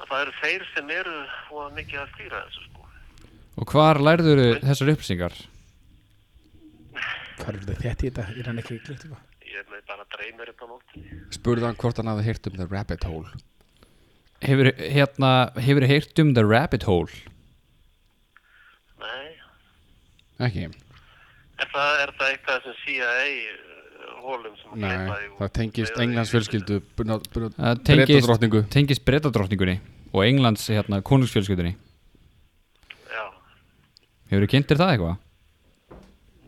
Speaker 5: að það eru þeir sem eru og mikið að stýra þessu sko
Speaker 1: og hvar lærður þessar upplýsingar?
Speaker 4: Hvað eru þetta þétt í þetta? Ég er hann ekki glögt upp á.
Speaker 5: ég er með bara dreymir upp á nóttinni
Speaker 3: Spurðum hann hvort hann hafi heyrt um The Rabbit Hole
Speaker 1: Hefur hérna, hefur heyrt um The Rabbit Hole?
Speaker 5: nei,
Speaker 3: Ekki,
Speaker 5: Er það, er það eitthvað sem CIA hólum eh, sem að gleypa
Speaker 3: nei,
Speaker 5: þig úr?
Speaker 3: það tengist
Speaker 5: Leiða þig
Speaker 3: Englands
Speaker 5: í vísindin?
Speaker 3: fjölskyldu
Speaker 1: Það Eh, tengist-
Speaker 3: Bretlandrottningu
Speaker 1: Tengist breytadrottningunni og Englands hérna konungsfjölskyldunni
Speaker 5: Já,
Speaker 1: Hefur þið kynntir það eitthvað?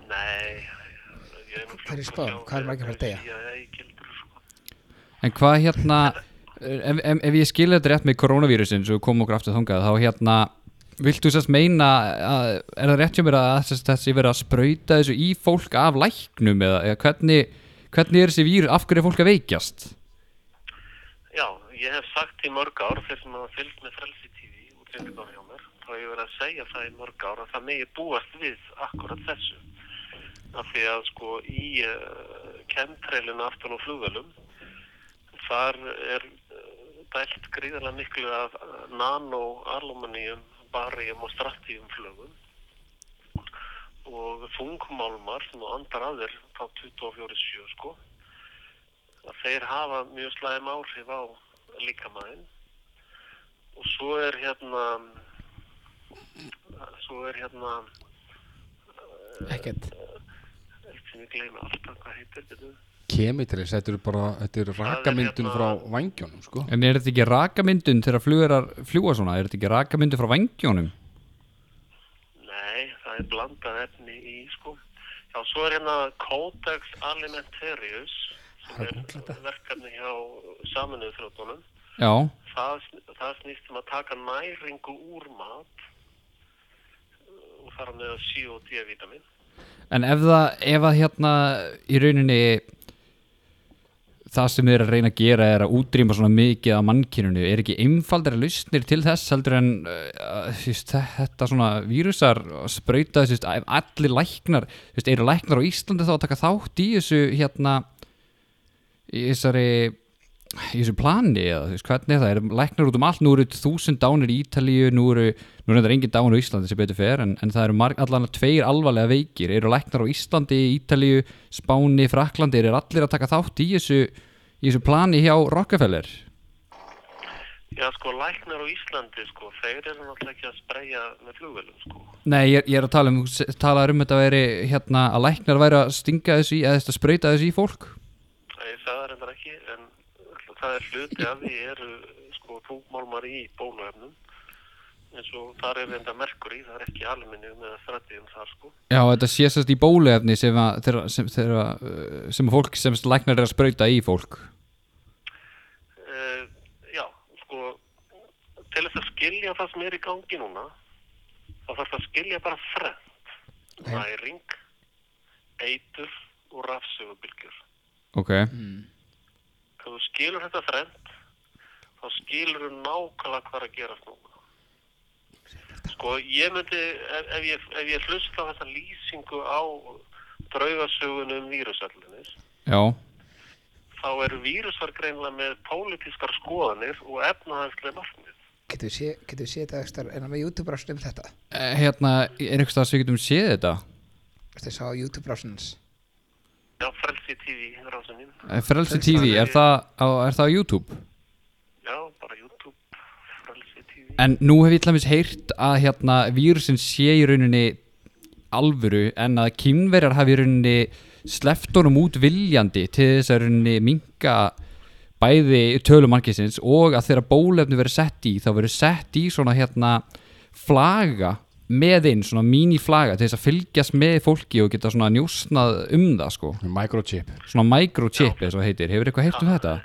Speaker 5: nei. ég er nú
Speaker 2: Hvað er í
Speaker 5: fljótur
Speaker 2: spám?
Speaker 5: að sjá
Speaker 2: Hvað eru margir að fara að deyja?
Speaker 5: CIA gildur, sko.
Speaker 1: En hvað hérna ef, ef, ef ég skilja þetta rétt með koronavírusin svo við komum okkur aftur þungað þá hérna viltu sérst meina að, er það rétt hjá mér að sérst þessi verið að sprauta þessu í fólk af læknum eða, eða hvernig, hvernig er þessi vírus af hverju er fólk að veikjast?
Speaker 5: Já, ég hef sagt í mörg ár þeir sem hafa fylgst með Frelsi TV og tengdóri hjá mér þá hef ég verið að segja það í mörg ár að það megi búast við akkurat þessu. Af því að sko í uh, kemtrelinu aftan á flugvelum þar er uh, dælt gríðarlega miklu af uh, nano, aluminium, barium og stratíum flugum og þungmálmar sem þú andar að þér þá 24-7 sko að þeir hafa mjög slæm áhrif á líkamæðin og svo er hérna svo er hérna
Speaker 2: Ekkert
Speaker 5: eftir sem ég gleyma alltaf hvað heitir þetta
Speaker 3: Kemitris, þetta eru bara, þetta eru
Speaker 5: er
Speaker 3: rakamyndun
Speaker 5: hérna-
Speaker 3: frá vangjónum sko
Speaker 1: En er þetta ekki rakamyndun þegar flugur að fljúa svona? Er þetta ekki rakamyndun frá vangjónum?
Speaker 5: Nei, það er blandað efni í sko. Já, svo er hérna Codex Alimentarius sem er verkefni hjá saminuðu þrjóttunum.
Speaker 1: Já,
Speaker 5: Það, sn- það snýst um að taka næringu úr mat uh, og fara með C og D-vitamin.
Speaker 1: en ef það, ef að hérna í rauninni það sem þið er að reyna að gera er að útrýma svona mikið af mannkyninu er ekki einfaldari lausnir til þess heldur en uh, just, þetta svona vírusar sprauta just, allir læknar, just, eru læknar á Íslandi þá að taka þátt í þessu hérna í þessari í þessu plani eða þú veist hvernig það er læknar út um allt, nú eru þúsund dánir í Ítalíu, nú eru, nú er þetta engin dánir á Íslandi sem betur fer, en, en það eru marg, allan tveir alvarlega veikir, eru læknar á Íslandi Ítalíu, Spáni, Fraklandi eru allir að taka þátt í þessu í þessu plani hjá Rockefeller
Speaker 5: Já, sko, læknar á Íslandi, sko, þeir eru náttúrulega ekki að spreja með flugvelum, sko.
Speaker 1: Nei, ég, ég er að tala um, tala um þetta veri hérna að læknar væri að stinga þessu í, eða þess að sprauta þessu í fólk
Speaker 5: Nei, það er endur ekki, en það er hluti að því eru, sko, tungmálmar í bóluefnum. En svo þar er enda merkur í, það er ekki aluminium eða þrættiðum þar, sko.
Speaker 1: Já, þetta sé sérst í bóluefni sem að, þeirra, sem, þeirra, uh, sem að fólk sem læknar er að sprauta í fólk
Speaker 5: Uh, já, sko, til þess að skilja það sem er í gangi núna, þá þarf að skilja bara þrennt. Næring, eitur og rafsögubilgjur.
Speaker 1: Ok,
Speaker 5: Ef þú skilur þetta þrennt, þá skilur þú nákvæmlega hvað er að gerast núna. Sko, ég myndi, ef, ef, ég, ef ég hlusta á þessa lýsingu á draugasögunum vírusallinis,
Speaker 1: já
Speaker 5: þá eru vírusar greinlega með pólitískar skoðanir og efnaðanslega markmið.
Speaker 2: Getum við séð getum við séð þetta ekstra, en að með YouTube-rásun um þetta?
Speaker 1: Eh, Hérna, er einhvers það sem við getum séð þetta?
Speaker 2: Þetta er sá YouTube-rásun hans.
Speaker 5: Já, frelsi TV, ráðsum mín.
Speaker 1: Eh, Frelsi TV, er það á, er það á YouTube?
Speaker 5: Já, bara YouTube, frelsi TV.
Speaker 1: En nú hef ég til dæmis heyrt að hérna vírusin sé í rauninni alvöru en að kínverjar hafi í rauninni sleppt honum út viljandi til þess að í rauninni minka bæði tölumarkisins og að þegar bólefni verið sett í þá verið sett í svona hérna flaga með inn, svona míniflaga til þess að fylgjast með fólki og geta svona njósnað um það sko,
Speaker 3: Microchip
Speaker 1: svona microchip eða svo heitir, hefur eitthvað
Speaker 5: Ah.
Speaker 1: heyrt um þetta?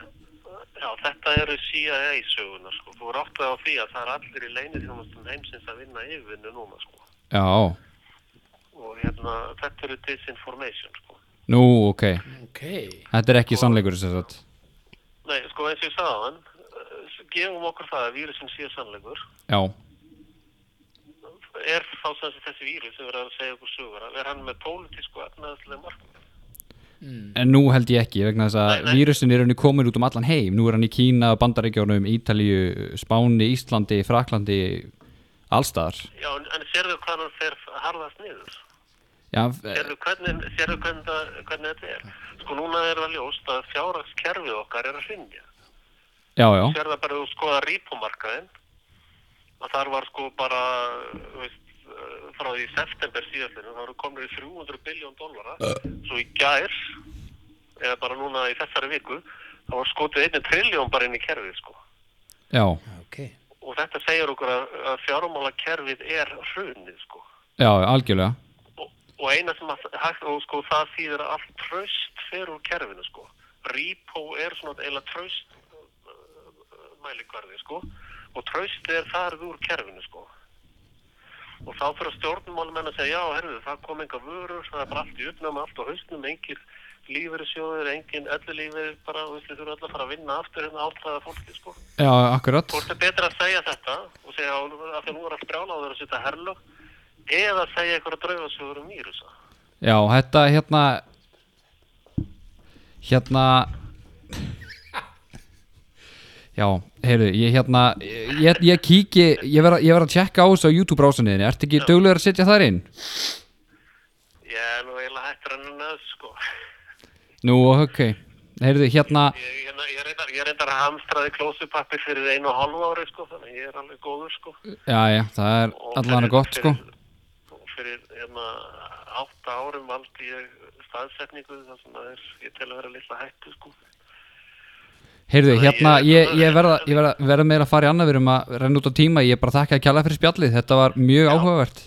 Speaker 5: Já, þetta eru CIA-sögunar, sko. Þú er áttið á því að það er allir í leinithjónustum heimsins að vinna yfirvinnu núna, sko.
Speaker 1: Já,
Speaker 5: Og hérna, þetta eru disinformation, sko.
Speaker 1: nú ok,
Speaker 4: Ok.
Speaker 1: þetta er ekki sannleikur þess að
Speaker 5: Nei, sko eins og ég sagði hann, gefum okkur það að vírusin sé sannleikur.
Speaker 1: Já,
Speaker 5: Er þá sem þessi, þessi vírus sem verður að segja okkur sögur, er hann með pólitísku efnaðslega markmið?
Speaker 1: En nú held ég ekki vegna þess
Speaker 5: Nei,
Speaker 1: að
Speaker 5: nei.
Speaker 1: vírusin er henni komin út um allan heim Nú er hann í Kína, Bandaríkjónum, Ítalíu, Spáni, Íslandi, Fraklandi, allstaðar
Speaker 5: Já, en, en sérðu hvað hann fer harðast niður?
Speaker 1: Já, eh,
Speaker 5: Sérðu hvernig, sérðu hvernig, það- hvernig þetta er? Sko núna er það ljóst að fjárhagskerfið okkar er að hrinja.
Speaker 1: já, já,
Speaker 5: Sérðu það bara að skoða rípumarkaðin, að þar var sko bara, þú veist, eh, frá því í september síðastinu, þá eru komin í 300 biljón dólara, svo í gær, eða bara núna í þessari viku, þá var skotið einni triljón bara inn í kerfið, sko.
Speaker 1: já,
Speaker 4: Ok.
Speaker 5: Og þetta segir okkur að, að fjármála kerfið er hrunið, sko.
Speaker 1: já, algjörlega
Speaker 5: Og, og eina sem að, hægt, og sko, það þýðir að allt tröst fer úr kerfinu, sko. Repo er svona eiginlega tröst uh, mælikvarði, sko. Og tröst er farið úr kerfinu, sko. Og þá fyrir stjórnmálum en að segja, já, herðu, það kom enga vörur, það er bara allt í uppnámi, allt á hausnum, engir lífeyrissjóður, engin öllulífeyrir, bara, þú veist, þið þurfa alltaf að fara að vinna aftur hérna áttræða fólki, sko.
Speaker 1: Já, akkurat
Speaker 5: Hvort er betra að segja þetta og segja að því að nú er allt brjála á þeirra að setja herlög eða að segja eitthvað draugasögur um vírusa?
Speaker 1: Já, þetta hérna Hérna Já, heyrðu, ég hérna Ég, ég kíki, ég verð að- ég verð að tjekka á þessu á YouTube rásunniðinni Ertu ekki dögulegur að setja þar inn?
Speaker 5: Ég er nú eiginlega hættur enn að nöð, sko.
Speaker 1: Nú, ok, heyrðu, hérna
Speaker 5: Ég, ég, ég, reyndar, ég reyndar að hamstraði klósupappi fyrir einu og hálfu ári, sko, þannig að ég er alveg góður, sko.
Speaker 1: Já, já, það er
Speaker 5: Og
Speaker 1: Mm, allan
Speaker 5: fyrir-
Speaker 1: gott sko
Speaker 5: Fyrir, og fyrir, hérna, átta árum valdi ég staðsetningu þar sem að er, ég tel að vera litla hættu, sko.
Speaker 1: Heyrðu,
Speaker 5: Þannig
Speaker 1: hérna,
Speaker 5: að ég-
Speaker 1: ég, ég verða, ég verða, verða meira að fara í annað Við erum að renna út á tíma, ég bara þakka að kjalla fyrir spjallið Þetta var mjög áhugavert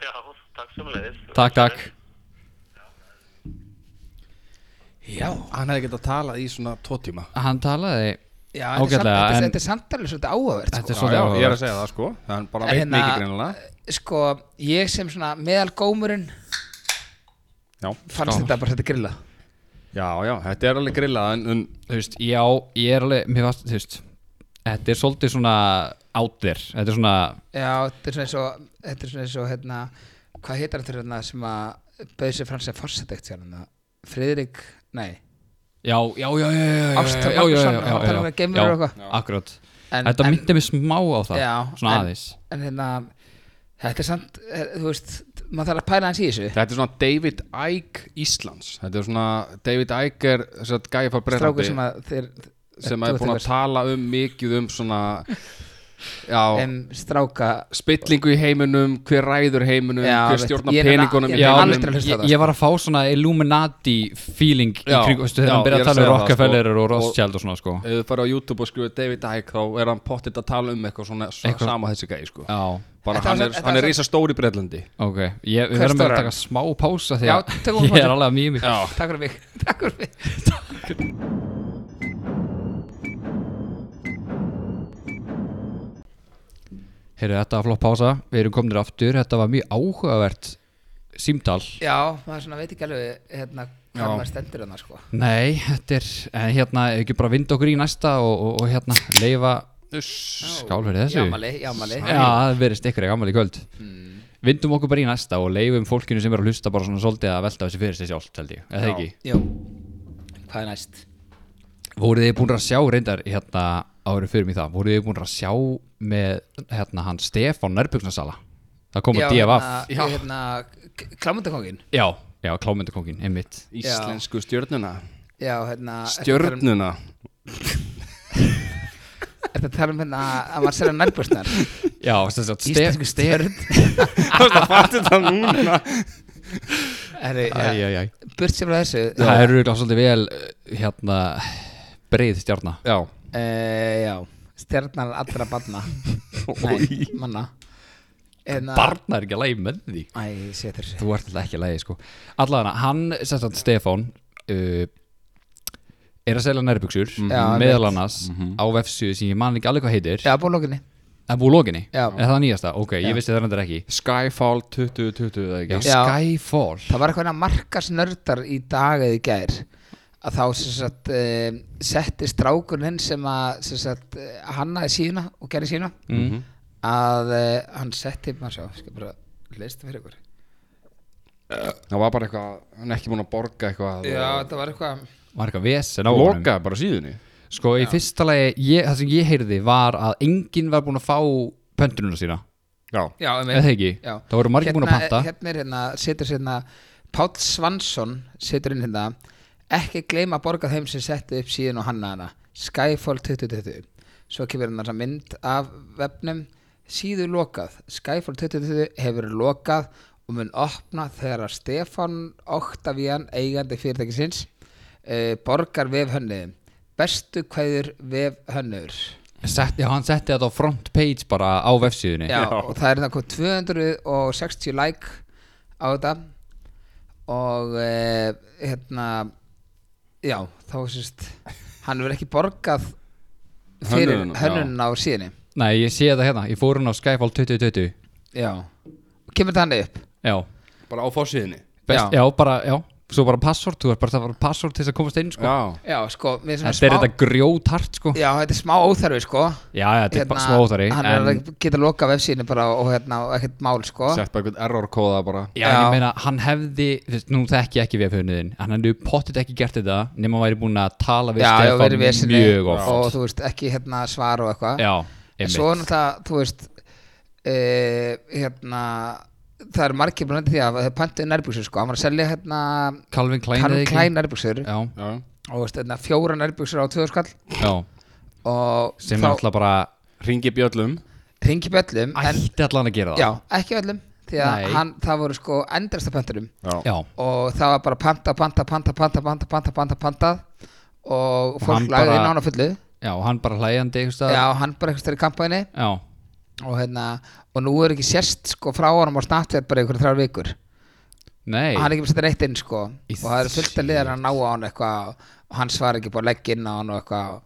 Speaker 5: Já, takk sem leiðist.
Speaker 1: Takk, takk
Speaker 4: Já.
Speaker 3: Hann hefði getað talað í svona tvo tíma
Speaker 1: Hann talaði,
Speaker 2: Já, þetta er samt-
Speaker 1: Ágætlega,
Speaker 2: þetta er-
Speaker 1: en-
Speaker 2: þetta er samtalið svolítið áhugavert,
Speaker 1: þetta
Speaker 2: sko.
Speaker 1: er svolítið
Speaker 3: Já, já, ég er að
Speaker 1: áhugavert
Speaker 3: segja það sko Hann bara
Speaker 2: En
Speaker 3: veit
Speaker 2: hérna-
Speaker 3: mikið greinilega
Speaker 2: Sko, ég sem svona meðalgómurinn
Speaker 3: Já,
Speaker 2: fannst þetta bara þetta grilla.
Speaker 3: já, já, þetta er alveg grillað en, en
Speaker 1: Þú veist, já, ég er alveg, mér varst, þú veist Þetta er svolítið svona out there Þetta er svona,
Speaker 2: Já, þetta er svona eins og, þetta er svona eins og, hérna, hvað heitar þetta hérna sem að bauði sér fram sem fórsetekt sér hérna? Friðrik, nei,
Speaker 1: Já, já, já, já, já, já,
Speaker 2: Ásta
Speaker 1: já, já, já,
Speaker 2: Magnússon,
Speaker 1: já,
Speaker 2: hann
Speaker 1: já,
Speaker 2: talar um
Speaker 1: já,
Speaker 2: að geimverur
Speaker 1: já,
Speaker 2: og eitthvað.
Speaker 1: já, akkurat
Speaker 2: En-
Speaker 1: Þetta
Speaker 2: en-
Speaker 1: myndi mig smá á það,
Speaker 2: Já,
Speaker 1: svona
Speaker 2: en-
Speaker 1: aðeins
Speaker 2: en hérna þetta er samt, eh, þú veist maður þarf að pæla hans í þessu
Speaker 3: Þetta er svona David Icke Íslands Þetta er svona David Icke er þess að gæja frá
Speaker 2: strákur
Speaker 3: Bretlandi
Speaker 2: sem að þeir
Speaker 3: sem
Speaker 2: þú
Speaker 3: er
Speaker 2: ert
Speaker 3: búin að
Speaker 2: eitthvað-
Speaker 3: tala um mikið um svona já,
Speaker 2: um stráka
Speaker 3: spillingu í heiminum hver ræður heiminum,
Speaker 2: Já,
Speaker 3: hver
Speaker 2: veitt,
Speaker 3: stjórnar
Speaker 2: ég er
Speaker 3: peningunum
Speaker 2: að-
Speaker 3: í
Speaker 2: ég
Speaker 1: Já,
Speaker 2: hef
Speaker 3: heiminum.
Speaker 2: aldrei hlustað á
Speaker 1: ég,
Speaker 2: það, sko.
Speaker 1: ég var að fá svona Illuminati feeling í
Speaker 3: Já,
Speaker 1: kring, veistu,
Speaker 3: já,
Speaker 1: þegar hann
Speaker 3: ég
Speaker 1: byrja
Speaker 3: er
Speaker 1: að
Speaker 3: að
Speaker 1: tala um
Speaker 3: segja það,
Speaker 1: Rockefeller
Speaker 3: sko.
Speaker 1: og Rothschild og svona, sko
Speaker 3: ef þú farið á YouTube og skrifur David Icke þá er hann pottitt að tala um eitthvað svona
Speaker 1: Eitthvað.
Speaker 3: eitthvað. sama þessi gæði sko
Speaker 1: Já,
Speaker 3: bara
Speaker 2: Þetta var
Speaker 3: hann
Speaker 2: svo-
Speaker 3: er,
Speaker 2: þetta
Speaker 3: hann
Speaker 2: var
Speaker 3: er
Speaker 2: svo-
Speaker 3: risa stór í Bretlandi
Speaker 1: ok, ég, við
Speaker 2: Hver
Speaker 1: verðum að
Speaker 2: stórar?
Speaker 1: taka smá pása því
Speaker 2: Já,
Speaker 1: að
Speaker 2: tökum
Speaker 1: ég
Speaker 2: pásu.
Speaker 1: er alveg að mjög mikið
Speaker 2: takk fyrir mig, takk fyrir mig
Speaker 1: Heyrðu, þetta var flott pása, við erum komnir aftur, þetta var mjög áhugavert símtal
Speaker 2: já, maður svona veit ekki alveg hérna, hvað
Speaker 3: Já.
Speaker 2: maður stendur hann sko.
Speaker 1: Nei, þetta er, en hérna, ef ekki bara vind okkur í næsta og, og, og hérna, leifa Skál fyrir þessu
Speaker 2: jámali, jámali
Speaker 1: Já, það verðist ykkur gammali í kvöld
Speaker 2: Mm.
Speaker 1: Vindum okkur bara í næsta og leifum fólkinu sem er að hlusta bara svona svolítið að velta þessi fyrir sig sjálft held ég, eða
Speaker 3: Já.
Speaker 1: ekki
Speaker 2: Jú. hvað er næst
Speaker 1: Voruð þið búin að sjá reyndar hérna árið fyrir mig það, voruð þið búin að sjá með hérna hann Stefán Nærbjörnsasala Það kom
Speaker 2: já,
Speaker 1: að DFF
Speaker 2: hérna, hérna klámundakongin
Speaker 1: Já, já, klámyndakongin, einmitt
Speaker 3: íslensku stjörnuna
Speaker 2: já, hérna er
Speaker 3: stjörnuna
Speaker 2: þetta tala um hérna að maður sér að nærbjörnsnar
Speaker 1: Já, þess að
Speaker 2: íslensku stjörn
Speaker 3: það fattu það núna
Speaker 2: Herri,
Speaker 1: Æ, æ,
Speaker 2: ja,
Speaker 1: æ.
Speaker 2: burt sem frá þessu
Speaker 1: Það eru gláð svolítið vel eh, hérna breið stjarnar
Speaker 3: já,
Speaker 2: Eh, já, stjarnar allra barna Nei, manna Eðna,
Speaker 1: Barna er ekki að lægi með því
Speaker 2: Æ, setur
Speaker 1: Þú ert alltaf ekki að leiði sko Allavega hann, sem sagt Stefán uh, Er að selja nærbuksur
Speaker 2: Já,
Speaker 1: Meðal
Speaker 2: rétt.
Speaker 1: annars á vefsíðu sem ég man ekki alveg hvað heitir
Speaker 2: Já, bólókinni
Speaker 1: Það er búið lókinni,
Speaker 2: Já.
Speaker 1: er það nýjasta? Ok, ég vissi það reyndar ekki
Speaker 3: Skyfall 2020 eða
Speaker 1: Já,
Speaker 3: ekki
Speaker 2: Já.
Speaker 1: Skyfall
Speaker 2: Það var eitthvað markasnördar í dag eða í gær að þá sem sagt, uh, setti strákuninn sem að sem sagt, uh, hannaði síðuna og gerði síðuna -hmm. að uh, hann setti maður sjá, ég skal bara leista fyrir ykkur
Speaker 3: það var bara eitthvað, hann er ekki búin að borga eitthvað
Speaker 2: Já, þetta var eitthvað
Speaker 1: Var eitthvað vesen á honum
Speaker 3: loka bara síðunni
Speaker 1: Sko, í fyrsta lagi, ég, það sem ég heyrði var að enginn var búin að fá pöntununa sína
Speaker 3: já,
Speaker 2: Já, um
Speaker 1: Eða ekki?
Speaker 2: Já.
Speaker 1: Það voru margir búin að panta
Speaker 2: hérna er hérna, setur hérna Páll Svansson setur inn hérna ekki gleyma að borga þeim sem settu upp síðan og hanna hana Skyfall 2020 svo kemur hérna þessa mynd af vefnum síðu lokað Skyfall 2020 hefur verið lokað og mun opna þegar að Stefán Óktavían eigandi fyrirtækisins uh, borgar vefhönniðum bestu kveður vefhönnur
Speaker 1: Sett, já, hann setti þetta á front page bara á vefsíðunni
Speaker 2: hérna. já, og það er þannig 260 like á þetta og e, hérna já, þá sést hann verður ekki borgað fyrir
Speaker 3: Hönnunum, já.
Speaker 2: hönnun á síðinni
Speaker 1: Nei, ég sé þetta hérna, ég fór hún á Skyfall 2020
Speaker 2: já, og kemur þetta hann upp
Speaker 1: Já,
Speaker 3: bara á fórsíðunni
Speaker 1: best,
Speaker 2: Já.
Speaker 1: já. bara, já Svo bara password, þú er bara að fara password til þess að komast inn sko.
Speaker 3: já,
Speaker 2: já, sko, mér finnst
Speaker 1: Þetta er
Speaker 2: svona
Speaker 1: þetta grjótart sko Já,
Speaker 2: já, þetta er smá óþarfi, sko Hérna,
Speaker 1: já, þetta er bara smá óþari
Speaker 2: hann
Speaker 1: en,
Speaker 2: er að geta lokað vefsíðinu bara og hérna, og ekkert mál, sko
Speaker 3: sett bara eitthvað error kóða bara
Speaker 1: Já, en
Speaker 2: Já.
Speaker 1: ég meina, hann hefði, þú veist, nú þekki ég ekki við höfniðin Hann hefði pottit ekki gert þetta nema hann væri búin að tala við
Speaker 2: já, já, verið
Speaker 1: Stefán
Speaker 2: vesinni
Speaker 1: mjög oft
Speaker 2: og þú veist, ekki hérna svar og eitthvað
Speaker 1: Já,
Speaker 2: En
Speaker 1: einmitt
Speaker 2: svo er náttúrulega, þú veist uh, hérna það er margir blandið því að það er pantið nærbuksur sko, hann var að selja hérna
Speaker 1: Calvin Klein
Speaker 2: hann
Speaker 1: eða ekki?
Speaker 2: klæn nærbuksur
Speaker 1: Já,
Speaker 3: já,
Speaker 2: og veist, hérna, fjóra nærbuksur á tvöðu skall
Speaker 1: já,
Speaker 2: og
Speaker 1: sem er
Speaker 2: þá
Speaker 1: alltaf bara
Speaker 3: ringi bjöllum
Speaker 2: ringi böllum en,
Speaker 1: Ætti allan að gera það
Speaker 2: já, ekki öllum því að
Speaker 1: Nei.
Speaker 2: hann, það voru sko endresta pöntunum
Speaker 1: já.
Speaker 2: og það var bara panta, panta, panta, panta, panta, panta, panta, pantað og
Speaker 1: hann
Speaker 2: fólk lagði
Speaker 1: bara-
Speaker 2: inn á hana fullu
Speaker 1: Já, hann bara hlægjandi einhvers staðar.
Speaker 2: já, hann bara eitthvað styrir kampaðinni
Speaker 1: Já,
Speaker 2: og hérna, og nú er ekki sérst sko frá honum á snartverð bara einhverjum þrjár vikur
Speaker 1: nei
Speaker 2: og hann er ekki með setja neitt inn sko
Speaker 1: Í
Speaker 2: og það eru fullt að liðar að ná á hann eitthvað og hann svarar ekki bara legg inn á hann og eitthvað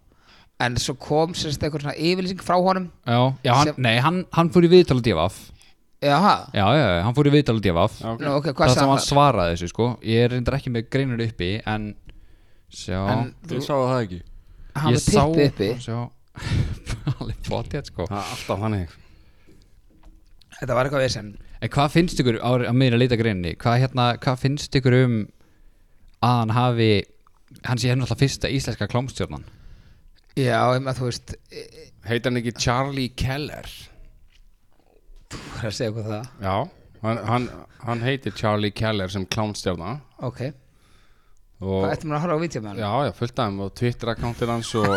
Speaker 2: en svo kom sérst eitthvað svona yfirlýsing frá honum
Speaker 1: Já, já hann,
Speaker 2: Sem-
Speaker 1: nei, hann, hann fór í viðtal að divaf
Speaker 2: já ha,
Speaker 1: Já, já, já, hann fór í viðtal að divaf
Speaker 3: Já, ok.
Speaker 2: nú ok,
Speaker 1: Það
Speaker 2: hvað
Speaker 1: sem
Speaker 2: sagði
Speaker 1: hann
Speaker 2: hann
Speaker 1: svaraði þessu, sko Ég er reyndar ekki með greinur uppi, en Sjá,
Speaker 2: En
Speaker 3: þú sáðu það ekki
Speaker 2: hann
Speaker 1: ég
Speaker 2: var tippi uppi
Speaker 1: Sjá, alveg potið, sko
Speaker 3: það er alltaf þannig
Speaker 2: þetta var eitthvað vesen
Speaker 1: En hvað finnst ykkur, á, á meðin að leita greinni Hvað, hérna, hvað finnst ykkur um að hann hafi hann sé hérna alltaf fyrsta íslenska klámstjórnan
Speaker 2: Já, ég maður, þú veist, e, ég
Speaker 3: Heitir hann ekki Charlie Keller?
Speaker 2: var að segja eitthvað það.
Speaker 3: Já, hann, hann, hann heitir Charlie Keller sem klánstjarna
Speaker 2: Ok,
Speaker 3: og
Speaker 2: hvað ættum við að horfa á vítjum með hann?
Speaker 3: Já, já, fullt af þeim og Twitter-akkántir hans og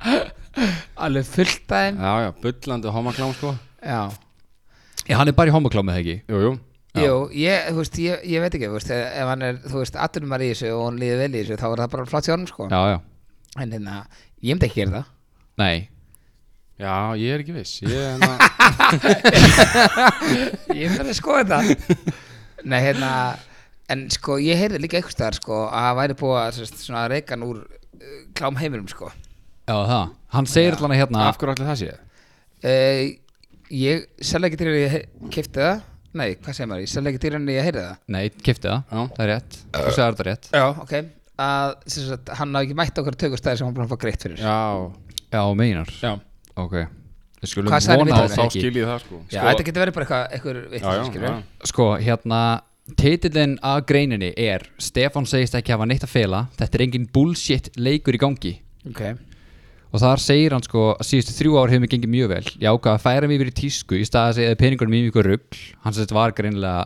Speaker 2: Alveg fullt af þeim.
Speaker 3: já, já, bullandi homaklám sko
Speaker 2: Já.
Speaker 1: Já, hann er bara í homoklámið ekki
Speaker 3: Jú, jú,
Speaker 2: Jú, ég, þú veist, ég, ég veit ekki, þú veist, ef hann er, þú veist, atvinnumar í þessu og hann líði vel í þessu, þá er það bara flott hjá hann, sko.
Speaker 1: Já, já,
Speaker 2: En hérna, ég myndi ekki gera það.
Speaker 1: nei
Speaker 3: já, ég er ekki viss Ég er hérna,
Speaker 2: Ég verði að skoða þetta Nei, hérna En sko, ég heyrði líka einhvers staðar sko að það væri búið að sérst, svona reykan úr uh, klám heiminum sko
Speaker 1: Já, það, hann segir allan að hérna
Speaker 3: af hverju allir það sé
Speaker 2: uh, Ég selja ekki til að ég kipti það Nei, hvað segir maður? Ég selja ekki til að ég heyrði það
Speaker 1: Nei, kipti það,
Speaker 3: Já.
Speaker 1: það er rétt Þú segir þetta rétt
Speaker 2: Já, ok að sem sagt, hann hafði ekki mætt okkur tökustæði sem hann búið að fá greitt fyrir
Speaker 3: Já,
Speaker 1: Já, meinar
Speaker 3: já,
Speaker 1: Ok Við skulum
Speaker 2: Hvað sagði hann í
Speaker 1: vona að
Speaker 2: viðtalinu?
Speaker 1: það
Speaker 3: þá
Speaker 1: ekki
Speaker 3: skil ég það sko
Speaker 2: Já, þetta getur verið bara eitthvað eitthvað
Speaker 3: já, já,
Speaker 2: vitlaust, skilurðu.
Speaker 3: já.
Speaker 1: Sko, hérna Titillin að greininni er Stefán segist ekki hafa neitt að fela Þetta er engin bullshit leikur í gangi
Speaker 2: Ok,
Speaker 1: Og þar segir hann sko að síðustu þrjú ár hefur mér gengið mjög vel. Ég ákvað að færa mig yfir í tísku í staði að segja peningunum í mjög rugl. Hann sem þetta var greinilega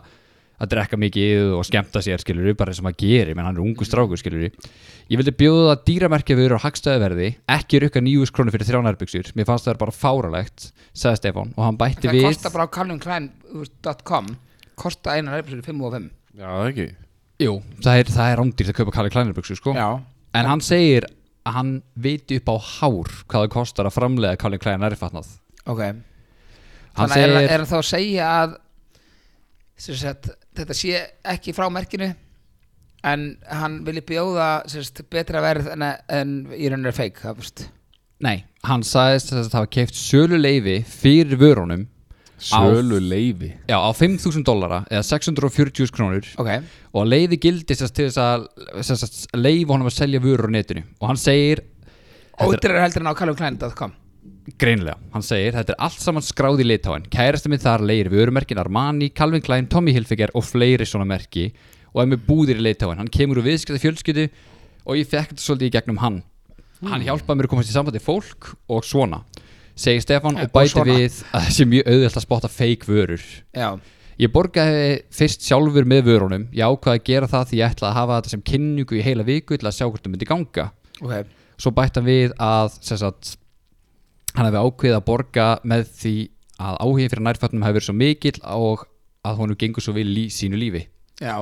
Speaker 1: að drekka mikið og skemmta sér skilur bara eins og maður gerir, menn hann er ungu strákur skilur Ég vildi bjóða það dýramerkjafur á hagstæðuverði, ekki rukka nýjus krónu fyrir þrjánærbyggsur. Mér fannst það bara fáralegt, sagði Stefán og hann bætti
Speaker 2: það
Speaker 1: við.
Speaker 2: kostar bara á calvinklein.com Kosta einar episóð 5 og 5
Speaker 3: já, það ekki
Speaker 1: Jú, það er, það er rándýrt að kaupa Kalli Kleinarbyggsur sko.
Speaker 3: Já,
Speaker 1: En hann segir að hann viti upp á hár hvað það kostar að framlega Kalli Kleinarfatnað.
Speaker 2: Ok,
Speaker 1: Hann
Speaker 2: Þannig segir...
Speaker 1: segir-
Speaker 2: er, er hann þá að segja að sem sagt, þetta sé ekki frá merkinu en hann vilji bjóða sem sagt, betra verð en, en í rauninu er feik það, veist.
Speaker 1: Nei, hann sagðist þess að það hafa keift söluleifi fyrir vörunum
Speaker 3: sölu leifi
Speaker 1: já, á 5.000 dollara eða 640 krónur
Speaker 2: Ok,
Speaker 1: og að leiði gildi sérst til þess að, þess að leiði honum að selja vörur á netinu og hann segir
Speaker 2: ódýrar heldur en á kalumklæn.com
Speaker 1: Greinlega, hann segir þetta er allt saman skráð í litáin Kærasta minn þar leir vörumerkin Armani, Calvin Klein, Tommy Hilfiger og fleiri svona merki og er með búðir í litáin Hann kemur úr viðskipta fjölskyldu og ég fekk þetta svolítið í gegnum hann Hann hjálpaði mér að komast í sambandi við fólk og svona segir Stefan og
Speaker 2: og
Speaker 1: bæti
Speaker 2: svona.
Speaker 1: við að það sé mjög auðvelt að spotta fake vörur
Speaker 2: Já,
Speaker 1: Ég borgaði fyrst sjálfur með vörunum Ég ákvaði að gera það því ég ætlaði að hafa þetta sem kynningu í heila viku til að sjá hvort það myndi ganga
Speaker 2: ok,
Speaker 1: svo bætti hann við að sem sagt, hann hefði ákveðið að borga með því að áhugin fyrir nærfætnum hefði verið svo mikill og að honum gengur svo vel í sínu lífi
Speaker 2: já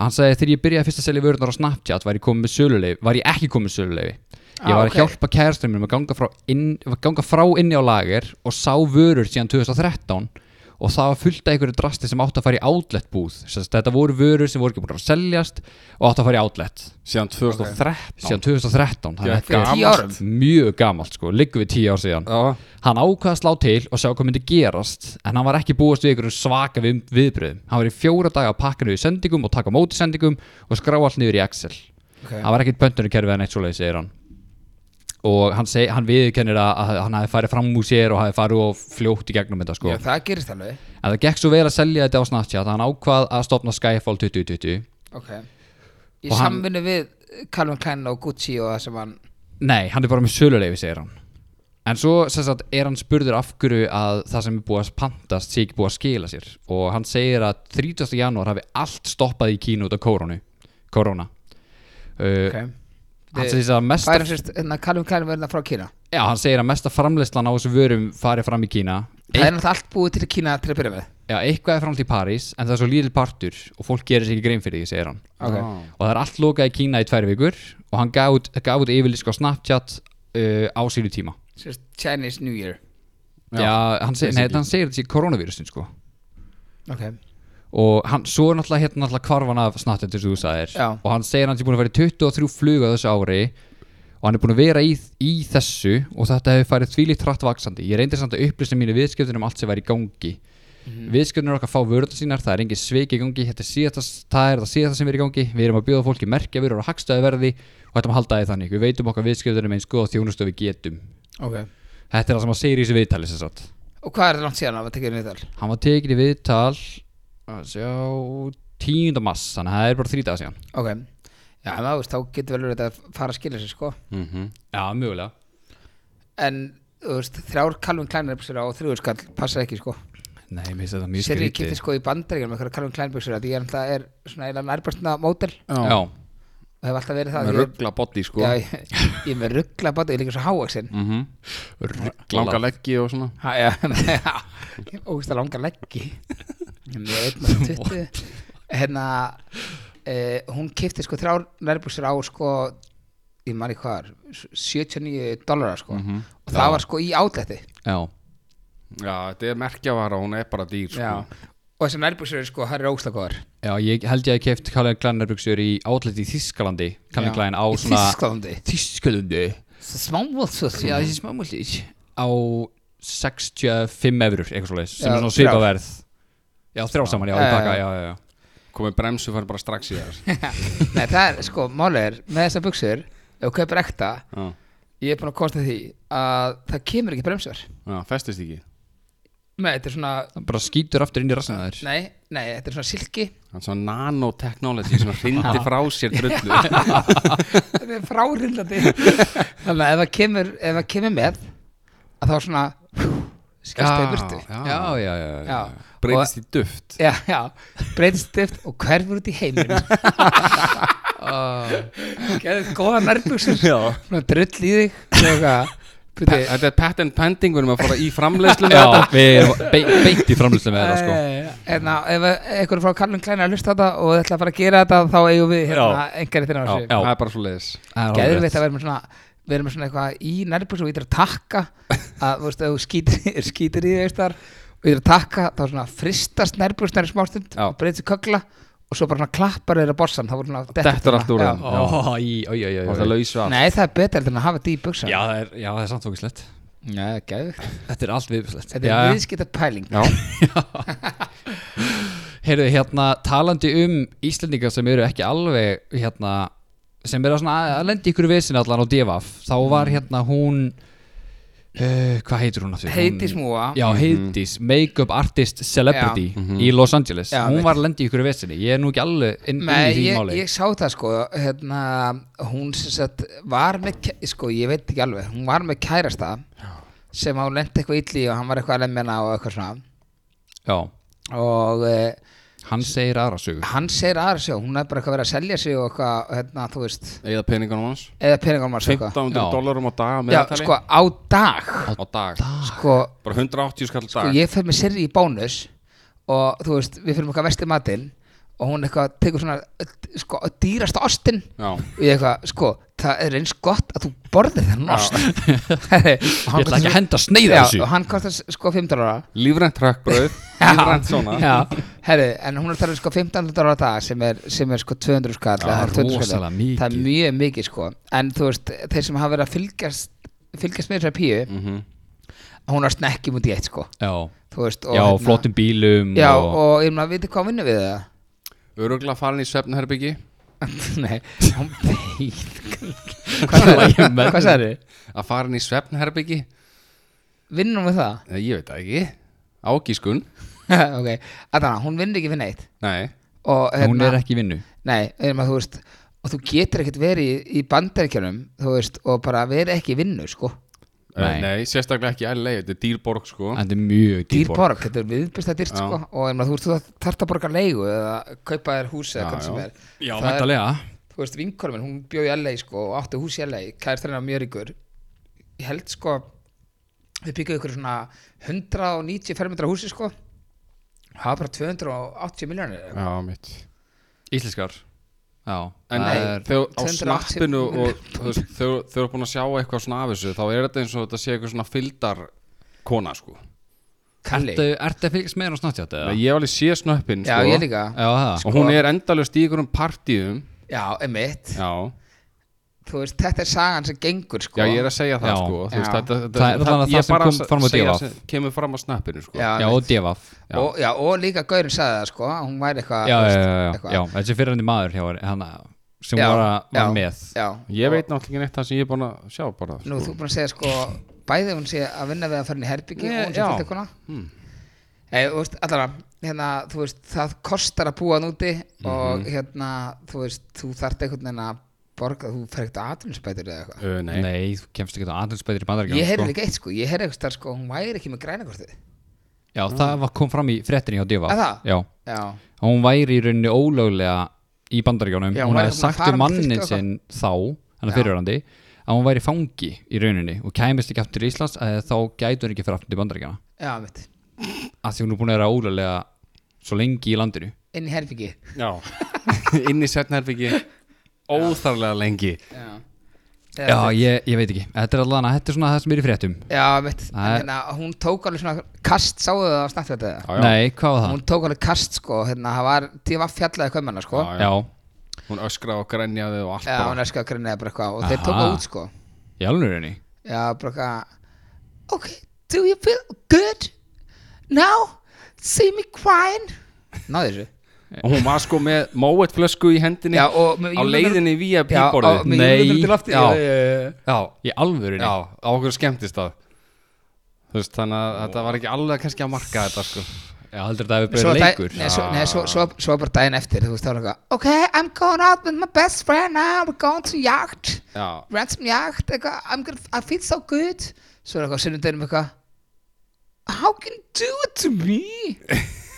Speaker 1: hann sagði þegar ég byrjaði fyrst að selja vörunar á Snapchat var ég, kominn með söluleifi, var ég ekki komið söluleifi ég
Speaker 2: Ah,
Speaker 1: var að
Speaker 2: ok.
Speaker 1: hjálpa kærastunum mínum að ganga frá, inn, ganga frá inni á lager og sá vörur síðan 2013 og það var fullt af einhverju drasti sem átti að fara í outlet búð Sess, þetta voru vörur sem voru ekki búin að seljast og átti að fara í outlet
Speaker 3: Síðan 2013
Speaker 1: síðan 2013 þannig að
Speaker 3: Gekk
Speaker 1: þetta er
Speaker 2: Tíu árum
Speaker 1: mjög gamalt sko, liggum við tíu ár síðan
Speaker 3: Já,
Speaker 1: hann ákvaða slá til og sjá hvað myndi gerast en hann var ekki búast við einhverjum svaka við, viðbröðum hann var í fjóra daga að pakka niður sendingum og taka á móti sendingum og skrá allt niður í Excel
Speaker 2: okay.
Speaker 1: hann var ekkert pöntunarkerfið en eitt svoleið segir hann og hann, seg, hann viðkennir að, að hann hafi farið fram úr sér og hafi farið og fljótt í gegnum þetta sko
Speaker 2: já, Það gerist alveg
Speaker 1: en það gekk svo vel að selja þetta á Snapchat að hann ákvað að stopna Skyfall 2020
Speaker 2: Ok Í
Speaker 1: Og hann-
Speaker 2: samvinnu við Calvin Klein og Gucci og það sem hann
Speaker 1: Nei, hann er bara með söluleifi, segir hann En svo sem sagt, er hann spurður af hverju að það sem er búið að pantast sé ekki búið að skila sér og hann segir að 30. janúar hafi allt stoppað í kínu út af koronu, korona uh,
Speaker 2: Ok
Speaker 1: Hann segir að mesta
Speaker 2: Hvað er sérst, hérna, Calvin Klein verðna frá Kína
Speaker 1: Já, hann segir að mesta framleyslan á þessu vörum farið fram í Kína
Speaker 2: Það er náttúrulega allt búið til Kína til að byrja með
Speaker 1: Já, eitthvað er framlega í París en það er svo lítill partur og fólk gerir sér ekki grein fyrir því, segir hann
Speaker 2: Ok,
Speaker 1: og það er allt lokað í Kína í tvær vikur og hann gaf út, gaf út yfirlýsk á Snapchat uh, á sínu tíma
Speaker 2: sérst, Chinese New Year
Speaker 1: Já, hann, seg, nei, hann segir þetta sé koronavírusin sko
Speaker 2: Ok
Speaker 1: og hann, svo er náttúrulega hérna náttúrulega kvarfan af snartinn til þú sagðir
Speaker 2: Já.
Speaker 1: og hann segir að hann sé búin að fara í 23 flug á þessu ári og hann er búin að vera í, í þessu og þetta hefur farið þvílíkt hratt vaksandi ég reyndir samt að upplýsa mínu viðskiptin um allt sem væri í gangi mm okkar fá vörðar sínar það er engin sveik í gangi, þetta er síðasta það er það síðasta sem er í gangi, við erum að bjóða fólki merkja vörur á hagstæðu verði og þetta maður halda því þannig við veitum okkar viðskiptunum eins góð og þjónustu og við getum
Speaker 2: Ok
Speaker 1: þetta er það sem hann segir í þessu viðtali sem sagt.
Speaker 2: Og hvað er það langt síðan að maður tekið viðtal?
Speaker 1: hann var tekin í viðtal að sjá 10. mass þannig að það er bara þrítið að síðan
Speaker 2: Ok Já, en það, þú veist, þá getur vel verið að þetta fara að skilja sig sko
Speaker 3: mm
Speaker 1: Já, mögulega
Speaker 2: En þú veist, þrjár Calvin Klein reipsur á þrjúður skall passar ekki sko
Speaker 1: Nei, mér finnst þetta mjög
Speaker 2: Sér ég
Speaker 1: skrítið
Speaker 2: getið sko í bandaríkjum eitthvað Calvin Klein buksur að ég er alltaf er svona eiginlega nærbærsna mótel
Speaker 1: Já,
Speaker 2: og hef alltaf verið það
Speaker 3: með
Speaker 2: því ég-
Speaker 3: ruggla body sko
Speaker 2: Já, ég, ég er með ruggla bátt, ég er líka svo hávaksinn
Speaker 3: mm -hmm.
Speaker 1: ruggla
Speaker 3: langa leggi og svona
Speaker 2: Ha, Já, já, ógust að langa leggi Ég er með einn og tuttu Hérna, eh, hún kipti sko þrjár nærbuksur á sko, ég maður í hvað, 79 dollara sko
Speaker 1: Mhm.
Speaker 2: og það var sko í átlætti
Speaker 1: Já,
Speaker 3: Já, þetta er merkjavara, hún er bara dýr sko.
Speaker 2: Já, og þessar nærbuksur sko, það er ógust að góðar
Speaker 1: já, ég held ég að keft Kalin Klein erbruksjör í átlæti í Þískalandi Kalin
Speaker 2: Já.
Speaker 1: Klein á
Speaker 2: Í
Speaker 1: svona
Speaker 2: Þýskalandi
Speaker 1: Þískalandi
Speaker 2: Smávaldsvöld
Speaker 1: Já, þessi smámúlík Á 65 eurur, eitthvað svoleiðis sem
Speaker 2: Já,
Speaker 1: er svona
Speaker 2: þrjár.
Speaker 1: svipaverð Já, þrjá saman, já,
Speaker 2: Já,
Speaker 1: ég baka,
Speaker 2: já,
Speaker 1: já, já, já
Speaker 3: komið bremsu fær bara strax í það
Speaker 2: Nei, það er sko, málið er, með þessar buksur ef þú kaupir ekta,
Speaker 3: Já,
Speaker 2: ég er búin að kosta því að það kemur ekki bremsar
Speaker 3: já, festist ekki
Speaker 2: Nei, þetta er svona
Speaker 1: Það bara skýtur aftur inn í rassina þér
Speaker 2: Nei, nei, þetta er svona silki
Speaker 3: Þannig svona nanotechnology sem hrindi frá sér drullu
Speaker 2: Þetta er frárillandi Þannig að ef það kemur, ef það kemur með að þá svona skjast það í burtu
Speaker 3: Já,
Speaker 1: Já, já, já, já,
Speaker 2: Já,
Speaker 3: breytist í duft
Speaker 2: já, já, breytist stift og hverfur út í heiminn Geðið góða nærbuxur Svona drull í þig og eitthvað
Speaker 3: Pe-
Speaker 2: Bíddu,
Speaker 3: Þetta er patent pending, við erum að fara í framleiðslu með
Speaker 1: já
Speaker 3: þetta
Speaker 1: Við erum be- beint í framlýslu með þetta, sko
Speaker 2: Nei, hérna, ef einhverjum frá Karlun Klein er að hlusta á þetta og þið ætla að fara að gera þetta þá eigum við hérna engar eftir á
Speaker 1: Já,
Speaker 2: þessu
Speaker 1: já,
Speaker 3: Það er bara svo leiðis
Speaker 1: það er alveg
Speaker 2: Geðveitt
Speaker 1: rétt.
Speaker 2: að vera með svona við erum með svona eitthvað í nærbús og við erum að takka að þú veist, ef þú skýtir, skýtir í því þar og við erum að takka þá svona fristast nærbús næri smástund
Speaker 3: Já.
Speaker 2: og breytist í kögla og svo bara svona klappar þeirra bossan þá voru svona dettur
Speaker 3: Dettur allt úr
Speaker 2: Já.
Speaker 3: þeim.
Speaker 1: Ó, í- ó, í- ó, í-
Speaker 3: Og
Speaker 1: ó,
Speaker 3: það
Speaker 1: í-
Speaker 3: lausa allt
Speaker 2: Nei, það er betra heldur en að hafa þetta í buksa
Speaker 1: Já, það er- já, það er samt fókislegt
Speaker 2: Nei, geðveikt.
Speaker 1: Þetta er allt viðbjörnslegt
Speaker 2: Þetta er viðskipta pæling
Speaker 3: Já,
Speaker 1: Heyrðu, hérna, talandi um Íslendingar sem eru ekki alveg hérna, sem eru að svona að- að lendi ykkur vesin allan á DFF,
Speaker 2: Mm.
Speaker 1: þá var hérna hún uh, hvað heitir hún aftur? hún,
Speaker 2: Heiti smúa
Speaker 1: Já, Heiðdís, make-up artist celebrity í Los Angeles
Speaker 2: Já,
Speaker 1: Hún
Speaker 2: mitt.
Speaker 1: var að lendi ykkur vesinni, ég er nú ekki alveg inn, inn í
Speaker 2: Nei,
Speaker 1: því
Speaker 2: ég,
Speaker 1: máli
Speaker 2: ég sá það sko hérna, hún sem sagt var með, kæ- sko ég veit ekki alveg hún var með kærasta sem hún lendi eitthvað illi og hann var eitthvað að lemja hana og eitthvað svona
Speaker 1: Já,
Speaker 2: og eh,
Speaker 1: hann segir aðra sögu
Speaker 2: hann segir aðra sjó hún er bara eitthvað verið að selja sig og eitthvað hérna, þú veist,
Speaker 3: eða peningunum hans
Speaker 2: eða peningum hans og eitthvað
Speaker 3: 1500
Speaker 1: Já.
Speaker 3: dólarum á dag
Speaker 2: Já,
Speaker 3: meðaltali.
Speaker 2: sko á dag
Speaker 3: á dag
Speaker 2: sko,
Speaker 3: bara 180 skall á
Speaker 2: sko
Speaker 3: dag
Speaker 2: ég fer með sirri í bónus og þú veist, við fyrir eitthvað vesti matinn og hún eitthvað tekur svona sko, dýrasta ostinn
Speaker 3: Já,
Speaker 2: og ég eitthvað, sko, það er eins gott að þú borðir þennan ost Ég
Speaker 1: Ég ætla ekki að henda sneiða þessu
Speaker 2: og hann kostar sko 15 dólar
Speaker 3: lífrænt rökkbröð lífrænt svona
Speaker 2: Já, herri, en hún er talað um sko 15 dólar á dag sem er, sem er sko 200 skall eða
Speaker 1: Já,
Speaker 2: 200 skall.
Speaker 1: rosalega mikið.
Speaker 2: Það er mjög mikið sko En þú veist, þeir sem hafa verið að fylgjast fylgjast með þessari píu
Speaker 1: Mm.
Speaker 3: Mhm.
Speaker 2: hún er snekkjum út í eitt sko
Speaker 1: Já,
Speaker 2: Þú veist, og
Speaker 1: já
Speaker 2: hérna-
Speaker 1: flottum bílum
Speaker 2: Já,
Speaker 1: og,
Speaker 2: og ég maður, veitir hvað hún vinnur við það?
Speaker 3: örugla farin í svefnherbyggi
Speaker 2: Nei, hún veit Hvað sagði?
Speaker 1: Ég menn-
Speaker 2: Hvað sagði?
Speaker 3: að farin í svefnherbyggi
Speaker 2: Vinnur hún við það?
Speaker 3: Eh, ég veit það ekki ágískun
Speaker 2: ok, allan, hún vinnur ekki við neitt
Speaker 3: nei
Speaker 2: og
Speaker 1: Hún
Speaker 2: hérna,
Speaker 1: er ekki í vinnu
Speaker 2: nei, um að, þú veist og þú getur ekkert verið í, í bandaríkjunum þú veist, og bara verið ekki í vinnu sko.
Speaker 1: Nei.
Speaker 3: nei, Eh, nei sérstaklega ekki LA, þetta er dýrborg sko
Speaker 1: Þetta er mjög dýrborg
Speaker 2: dýrborg, þetta er viðbyrsta dýrt
Speaker 3: Já.
Speaker 2: sko. og um að, þú veist, þú þarft að borga leigu eða kaupa þér hús eða
Speaker 3: Já,
Speaker 2: hvað sem
Speaker 3: já.
Speaker 2: er
Speaker 1: Já,
Speaker 2: Það er-
Speaker 1: mentalega
Speaker 2: þú veist, vinkonum minn, hún bjóði í LA sko, og átti hús í LA, kærstrenna mjög ríkur ég held sko við byggum ykkur svona 190 fermetra húsi sko hafa bara 280 miljónir
Speaker 3: já, mitt
Speaker 1: Íslenskar eh, Já,
Speaker 3: en
Speaker 1: það
Speaker 2: Nei.
Speaker 1: er-
Speaker 3: þau á
Speaker 2: 280
Speaker 3: snappinu og þú veist, þau þau eru búin að sjá eitthvað svona af þessu þá er þetta eins og þetta sé eitthvað svona fyldar kona sko
Speaker 2: Kalli,
Speaker 1: Ertu ertu að fylgjast með henni á Snapchat eða?
Speaker 3: Nei, ég hef alveg sé snöppin
Speaker 2: já
Speaker 3: sko
Speaker 2: ég líka sko.
Speaker 1: Já, það
Speaker 3: og hún er endalust í einhverjum partíum
Speaker 2: já, emitt
Speaker 3: já
Speaker 2: þú veist, þetta er sagan sem gengur sko
Speaker 3: Já, ég er að segja það
Speaker 1: Já.
Speaker 3: sko Þú veist,
Speaker 2: Já.
Speaker 3: þetta, þetta,
Speaker 1: Það er allavega
Speaker 3: ég
Speaker 1: það sem
Speaker 3: bara
Speaker 1: kom fram á
Speaker 3: segja
Speaker 1: DVF.
Speaker 3: sem Kemur fram á snappinu sko
Speaker 2: já,
Speaker 1: Já,
Speaker 2: já,
Speaker 1: og divaf
Speaker 3: Já.
Speaker 2: Og, já, og líka Gaurin sagði það sko að hún væri
Speaker 1: Já,
Speaker 2: eitthvað
Speaker 1: já, já,
Speaker 2: þú veist,
Speaker 1: já,
Speaker 2: eitthvað.
Speaker 1: já Þessi fyrirandi maður hjá henni hana, sem
Speaker 2: Já,
Speaker 1: var, að, var
Speaker 2: já.
Speaker 1: með
Speaker 2: já.
Speaker 3: Ég veit náttúrulega ekki neitt það sem ég er búin að sjá bara sko.
Speaker 2: Nú, þú er búin að segja sko bæði hún sé að vinna við að fara inn í herbyggi
Speaker 3: Nei,
Speaker 2: og hún sé
Speaker 3: já.
Speaker 2: fyllt eitthvað Nei, þú veist, allavega, hérna, þú veist, það kostar að búa hann úti og hérna, þú veist, þú þarft einhvern veginn að borga, þú fer ekkert atvinnsbætur eða eitthvað.
Speaker 3: Uh, nei.
Speaker 1: Nei, þú kemst ekki á aðeinsbæðir í
Speaker 2: Ég
Speaker 1: bandaríkjana
Speaker 2: heyrði líka eitt sko, ég heyrði eitthvað þar sko, hún væri ekki með grænakortið.
Speaker 1: Já, það var, kom fram í frettinni hjá Diva
Speaker 2: Ah. Er það?
Speaker 1: Já,
Speaker 2: Já,
Speaker 1: að hún væri í rauninni ólöglega í bandaríkjánum
Speaker 2: Já,
Speaker 1: hún
Speaker 2: hún væri
Speaker 1: hefði
Speaker 2: búin að
Speaker 1: sagt
Speaker 2: fara
Speaker 1: um
Speaker 2: með fylki
Speaker 1: mannin
Speaker 2: og
Speaker 1: sinn þá hann
Speaker 2: Já.
Speaker 1: er fyrirrandi að hún væri fangi í rauninni og kæmist ekki aftur til Íslands eða þá gætu hún ekki fyrir aftur til bandaríkjana
Speaker 2: já, mitt.
Speaker 1: af því hún er búin að vera ólöglega svo lengi í landinu
Speaker 2: Inn í herbyggi.
Speaker 3: Já. Inn í setnherbyggi óþarlega lengi.
Speaker 2: Já.
Speaker 1: Já, ég, ég veit ekki, þetta er allan að þetta er svona það sem er í fréttum
Speaker 2: Já, mitt.
Speaker 1: Það er-
Speaker 2: Hérna, hún tók alveg svona kast, sáðu það á snartfjöldið það?
Speaker 3: Já, já.
Speaker 1: Nei, hvað var það?
Speaker 2: Hún tók alveg kast sko, hérna, það var tíma fjallaði kömmanna sko.
Speaker 3: Já,
Speaker 1: Já,
Speaker 3: Hún öskraði og grænjaði og allt
Speaker 2: Já, hún
Speaker 3: bara.
Speaker 2: er sko að grinna eða bara eitthvað og þeir
Speaker 1: Aha.
Speaker 2: tóka út sko.
Speaker 1: í alveg rauninni
Speaker 2: Já, bara eitthvað Ok, do you feel good? Now, see me crying Náðu þessu
Speaker 3: Og hún var sko með móet flösku í hendinni
Speaker 2: Já, og með-
Speaker 3: á
Speaker 2: ég-
Speaker 3: leiðinni
Speaker 2: Já,
Speaker 3: vía
Speaker 2: á-
Speaker 3: píborðið.
Speaker 2: með-
Speaker 1: Nei,
Speaker 2: júlíunum til lofti,
Speaker 1: já.
Speaker 2: já,
Speaker 1: Já, í alveg
Speaker 3: Já,
Speaker 1: rauninni
Speaker 3: á okkur skemmtist það. Þú veist, þannig að þetta var ekki alveg kannski að marka þetta sko.
Speaker 1: Já, heldur þetta hefur
Speaker 2: Svo
Speaker 1: bara
Speaker 2: dæ-
Speaker 1: leikur Ah.
Speaker 2: Nei, svo, nei, svo, svo, svo bara daginn eftir Þú veist, þá er eitthvað Ok, I'm going out with my best friend now We're going to yacht
Speaker 3: Já,
Speaker 2: Ransom yacht eitthvað, I'm gonna, I feel so good Svo er eitthvað sunnundeginum eitthvað How can you do it to me?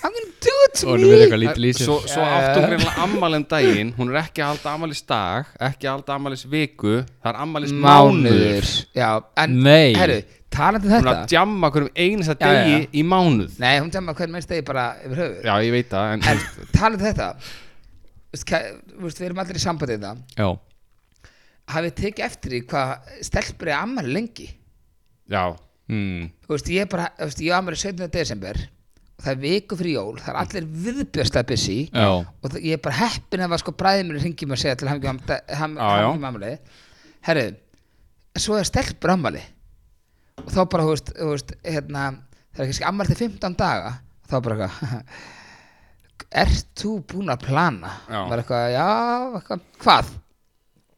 Speaker 2: How can you do it to
Speaker 1: Og
Speaker 2: me?
Speaker 1: hún er eitthvað lítið lýsir
Speaker 3: Svo, svo áttu greinlega ammalin um daginn Hún er ekki að halda ammalis dag Ekki að halda ammalis viku Það er ammalis mánuður
Speaker 2: Mánuður Já, en
Speaker 1: Nei.
Speaker 2: Herru, talandi um
Speaker 3: Hún er
Speaker 2: þetta
Speaker 3: að djamma hverjum einasta
Speaker 2: Já, já,
Speaker 3: degi
Speaker 2: já.
Speaker 3: í mánuð
Speaker 2: Nei, hún tjáma hvern mennst degi bara yfir höfuð
Speaker 3: Já, ég veit það En,
Speaker 2: En talað um þetta veist, hvað, veist, Við erum allir í sambandi það
Speaker 1: Já,
Speaker 2: Hafið tekið eftir í hvað stelpur er ammali lengi
Speaker 3: já,
Speaker 1: mm.
Speaker 2: Þú veist, Ég er bara, þú veist, ég ammali 17. desember og Það er viku fyrir jól Það er allir viðbjörslega busy
Speaker 1: já,
Speaker 2: Og það, ég er bara heppin að var sko bræðið mér hringjum að segja til hann ham,
Speaker 3: Já, já.
Speaker 2: ham, ammali Herru, svo er stelpur ammali Og þá bara, þú veist, þú veist hérna, það er kannski ammali til 15 daga Og þá bara eitthvað Ert þú búin að plana?
Speaker 3: Já.
Speaker 2: Var eitthvað, já, eitthvað, hvað?